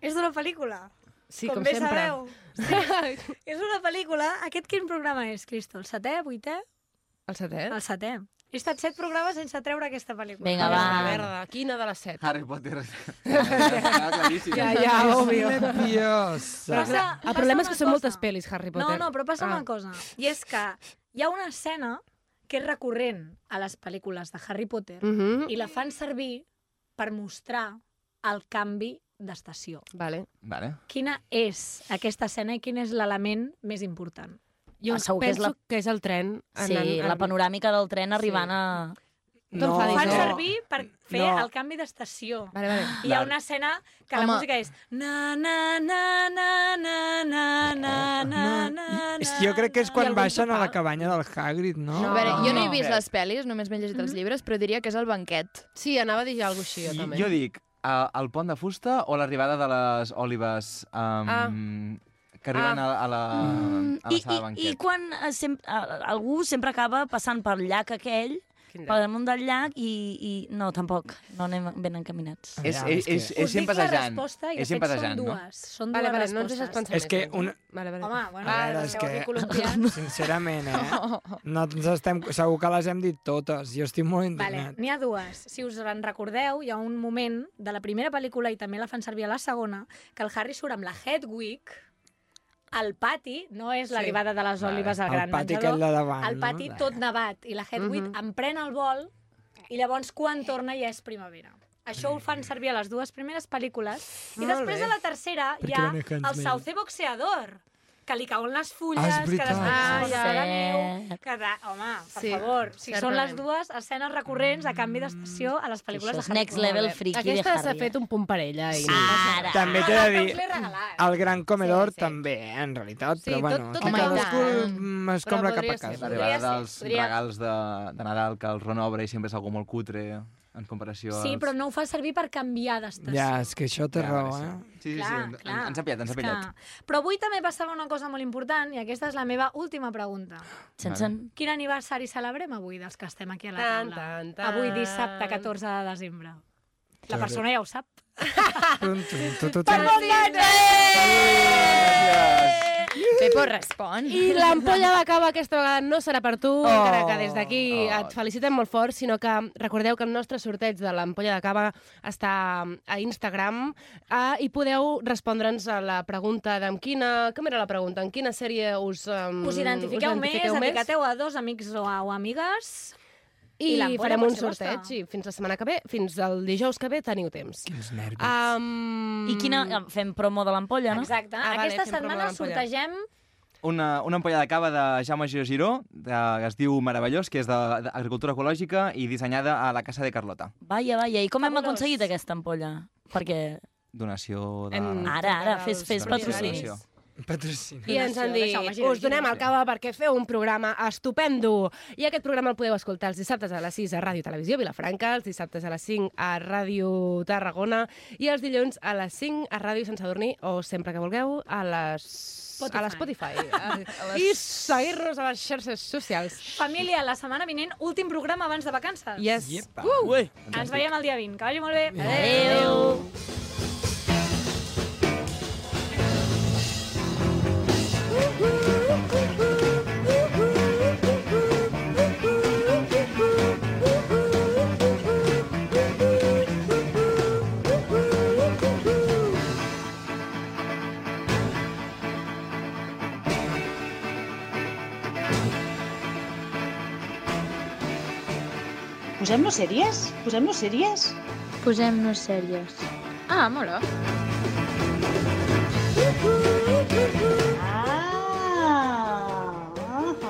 Speaker 7: és d'una pel·lícula.
Speaker 8: [LAUGHS] Sí,
Speaker 7: com,
Speaker 8: com
Speaker 7: bé
Speaker 8: sempre.
Speaker 7: sabeu. [LAUGHS] Sí, és una pel·lícula... Aquest quin programa és, Cristo? El setè, vuitè?
Speaker 8: El setè?
Speaker 7: El setè. He estat set programes sense treure aquesta pel·lícula.
Speaker 10: Vinga,
Speaker 8: Ah,
Speaker 10: va.
Speaker 8: merda, quina de les set?
Speaker 5: Harry Potter. Estava claríssim.
Speaker 8: Ja, ja, òbvio.
Speaker 7: Però
Speaker 9: Nerviosa.
Speaker 7: s'ha-
Speaker 8: El problema
Speaker 7: passa una
Speaker 8: és que
Speaker 7: cosa.
Speaker 8: són moltes pel·lis, Harry Potter.
Speaker 7: No, no, però passa
Speaker 8: Ah.
Speaker 7: una cosa. I és que hi ha una escena que és recurrent a les pel·lícules de Harry Potter
Speaker 8: Mhm.
Speaker 7: i la fan servir per mostrar el canvi d'estació.
Speaker 8: Vale.
Speaker 5: Vale.
Speaker 7: Quina és aquesta escena i quin és l'element més important?
Speaker 8: Jo
Speaker 10: Ah, segur que és
Speaker 8: penso
Speaker 10: la-
Speaker 8: que és el tren.
Speaker 10: Sí, la panoràmica del tren arribant a...
Speaker 7: Ho
Speaker 9: No,
Speaker 7: fan
Speaker 9: no.
Speaker 7: servir per fer
Speaker 9: No.
Speaker 7: el canvi d'estació.
Speaker 8: Vale, vale.
Speaker 7: I hi ha una escena que la
Speaker 11: Home.
Speaker 7: música és na na na na na na na na na
Speaker 9: És que jo crec que és
Speaker 7: I
Speaker 9: quan
Speaker 7: algun
Speaker 9: baixen a la
Speaker 7: sopar.
Speaker 9: cabanya del Hagrid, no?
Speaker 11: A veure, jo
Speaker 5: Ah.
Speaker 11: no he
Speaker 8: No.
Speaker 11: vist les pel·lis, només m'he llegit els llibres, però diria que és el banquet.
Speaker 8: Mhm. Sí, anava a dir alguna cosa així, jo
Speaker 5: Jo,
Speaker 8: també.
Speaker 5: jo dic, uh, el pont de fusta o l'arribada de les olives um,
Speaker 8: Ah.
Speaker 5: que arriben ah. a, a, la, a la
Speaker 10: Mm, I,
Speaker 5: sala
Speaker 10: i,
Speaker 5: de
Speaker 10: i
Speaker 5: banquet.
Speaker 10: quan eh, sem eh, algú sempre acaba passant pel llac aquell,
Speaker 8: Quin
Speaker 10: per damunt del llac, i, i no, tampoc, no anem ben encaminats.
Speaker 5: És,
Speaker 9: Ja,
Speaker 5: és,
Speaker 9: és que-
Speaker 5: és, és
Speaker 7: Us dic
Speaker 5: gent
Speaker 7: la
Speaker 5: passejant.
Speaker 7: resposta i de
Speaker 5: És gent
Speaker 7: fet són
Speaker 5: passejant, no?
Speaker 7: dues. Són dues
Speaker 8: Vale, vale, no ens deixes
Speaker 7: respostes.
Speaker 8: pensar
Speaker 9: És
Speaker 8: més,
Speaker 9: que
Speaker 8: Nathan.
Speaker 9: una-
Speaker 8: Vale, vale.
Speaker 7: Home, bueno,
Speaker 9: A
Speaker 7: a
Speaker 9: veure,
Speaker 7: veure,
Speaker 9: és
Speaker 7: esteu
Speaker 9: que-
Speaker 7: aquí
Speaker 9: [LAUGHS]
Speaker 7: columpiant.
Speaker 9: Sincerament, eh? No ens estem... Segur que les hem dit totes. Jo estic molt
Speaker 7: Vale,
Speaker 9: indignat.
Speaker 7: n'hi ha dues. Si us en recordeu, hi ha un moment de la primera pel·lícula, i també la fan servir a la segona, que el Harry surt amb la Hedwig al pati, no és l'arribada de les
Speaker 5: Vale.
Speaker 7: olives al
Speaker 9: El
Speaker 7: gran
Speaker 9: pati
Speaker 7: menjador,
Speaker 9: aquell de Mhm. davant,
Speaker 7: al pati
Speaker 9: no?
Speaker 7: tot nevat, i la Hedwig em pren el vol, i llavors quan torna ja és primavera. Això ho fan servir a les dues primeres pel·lícules, i
Speaker 8: Molt
Speaker 7: després
Speaker 8: bé.
Speaker 7: a la tercera hi ha
Speaker 9: Perquè van a
Speaker 7: el
Speaker 9: Huntsman.
Speaker 7: sauce boxeador, que li cauen les fulles,
Speaker 9: Ah, és
Speaker 7: que després
Speaker 9: veritat.
Speaker 7: es posa
Speaker 10: Ah,
Speaker 7: la
Speaker 10: sí.
Speaker 7: neu... Que de... Home, per
Speaker 8: Sí,
Speaker 7: favor, si són les
Speaker 8: certament.
Speaker 7: dues escenes recurrents a canvi d'estació a les pel·lícules
Speaker 10: Això
Speaker 7: de
Speaker 10: és
Speaker 7: Harry
Speaker 10: next
Speaker 7: Potter.
Speaker 10: level friki
Speaker 8: Aquesta
Speaker 10: de
Speaker 8: s'ha
Speaker 10: Harry.
Speaker 8: fet un punt parella. I...
Speaker 10: Ara.
Speaker 9: També t'he
Speaker 7: Ah,
Speaker 9: de
Speaker 7: que us l'he
Speaker 9: dir...
Speaker 7: regalat.
Speaker 9: El gran comedor també, eh, en realitat,
Speaker 8: Sí,
Speaker 9: però
Speaker 8: tot-
Speaker 9: bueno,
Speaker 8: tot
Speaker 9: aquí
Speaker 11: i tant.
Speaker 9: cadascú mm, es
Speaker 8: Però
Speaker 9: compra cap
Speaker 8: podria
Speaker 9: a
Speaker 8: ser,
Speaker 9: casa.
Speaker 5: L'arribada
Speaker 7: ser,
Speaker 5: dels
Speaker 7: podria-
Speaker 5: regals de, de Nadal que el Ron obre i sempre és algú molt cutre en comparació
Speaker 7: Sí,
Speaker 5: als...
Speaker 7: però no ho fa servir per canviar d'estació.
Speaker 9: Ja, és que això té
Speaker 5: Ja,
Speaker 9: raó,
Speaker 5: vale,
Speaker 9: eh?
Speaker 5: Sí, sí, sí,
Speaker 7: Clar,
Speaker 5: sí,
Speaker 7: clar.
Speaker 5: ens ha pillat, ens
Speaker 7: És
Speaker 5: ha pillat.
Speaker 7: Que... Però avui també passava una cosa molt important i aquesta és la meva última pregunta.
Speaker 10: Txan, txan.
Speaker 7: Quin aniversari celebrem avui dels que estem aquí a la
Speaker 8: Tan,
Speaker 7: taula?
Speaker 8: tan, tan.
Speaker 7: Avui dissabte 14 de desembre. La
Speaker 9: Clar.
Speaker 7: persona ja ho sap.
Speaker 9: Tum, tum, tum, tum, tum.
Speaker 7: Perdó,
Speaker 11: Pepo respon.
Speaker 8: I l'ampolla de cava aquesta vegada no serà per tu, oh, encara que des d'aquí
Speaker 5: Oh.
Speaker 8: oh. et felicitem molt fort, sinó que recordeu que el nostre sorteig de l'ampolla de cava està a Instagram eh, i podeu respondre'ns a la pregunta d'en quina... Com era la pregunta? En quina sèrie us... Um,
Speaker 7: Us identifiqueu més, etiqueteu a dos amics o, a, o amigues.
Speaker 8: i,
Speaker 7: i
Speaker 8: I
Speaker 7: l'ampolla
Speaker 8: farem
Speaker 7: pot
Speaker 8: un
Speaker 7: ser vostra.
Speaker 8: sorteig i fins la setmana que ve, fins al dijous que ve teniu temps.
Speaker 9: Quins nervis.
Speaker 8: Um, Mm.
Speaker 10: I quina... Fem promo de l'ampolla, no?
Speaker 7: Exacte.
Speaker 8: Ah, vale,
Speaker 7: Aquesta
Speaker 8: fem promo de
Speaker 7: setmana
Speaker 8: l'ampolla.
Speaker 7: sortegem
Speaker 5: una, una ampolla de cava de Jaume Giró Giró, de, que es diu Meravellós, que és de- d'agricultura ecològica i dissenyada a la Casa de Carlota.
Speaker 10: Vaja, vaja, i com hem aconseguit aquesta ampolla? Perquè...
Speaker 5: Donació de...
Speaker 10: Ara, ara, fes, fes patrocini.
Speaker 5: Donació.
Speaker 22: Patrocini.
Speaker 8: I ens han
Speaker 10: Donació de
Speaker 8: dit,
Speaker 10: Jaume Giró
Speaker 8: us donem el cava perquè feu un programa estupendo. I aquest programa el podeu escoltar els dissabtes a les 6 a Ràdio Televisió Vilafranca, els dissabtes a les 5 a Ràdio Tarragona i els dilluns a les 5 a Ràdio Sant Sadurní o sempre que vulgueu a les... Spotify. [LAUGHS] A l'Spotify. I seguir-nos a les xarxes socials.
Speaker 7: Família, la setmana vinent, últim programa abans de vacances.
Speaker 8: Yes. Iepa.
Speaker 7: Uh!
Speaker 8: Ué.
Speaker 7: Ens veiem el dia 20. Que vagi molt bé.
Speaker 8: Adéu.
Speaker 23: Posem-nos sèries? Posem-nos sèries?
Speaker 11: Posem-nos sèries. Ah, mola.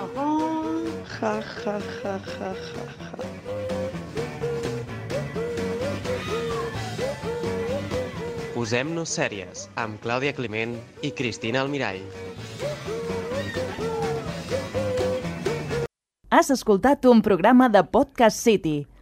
Speaker 23: Ja, ja, ja, ja, ja, ja.
Speaker 9: Posem-nos sèries amb Clàudia Climent i Cristina Almirall.
Speaker 1: Has escoltat un programa de Podcast City,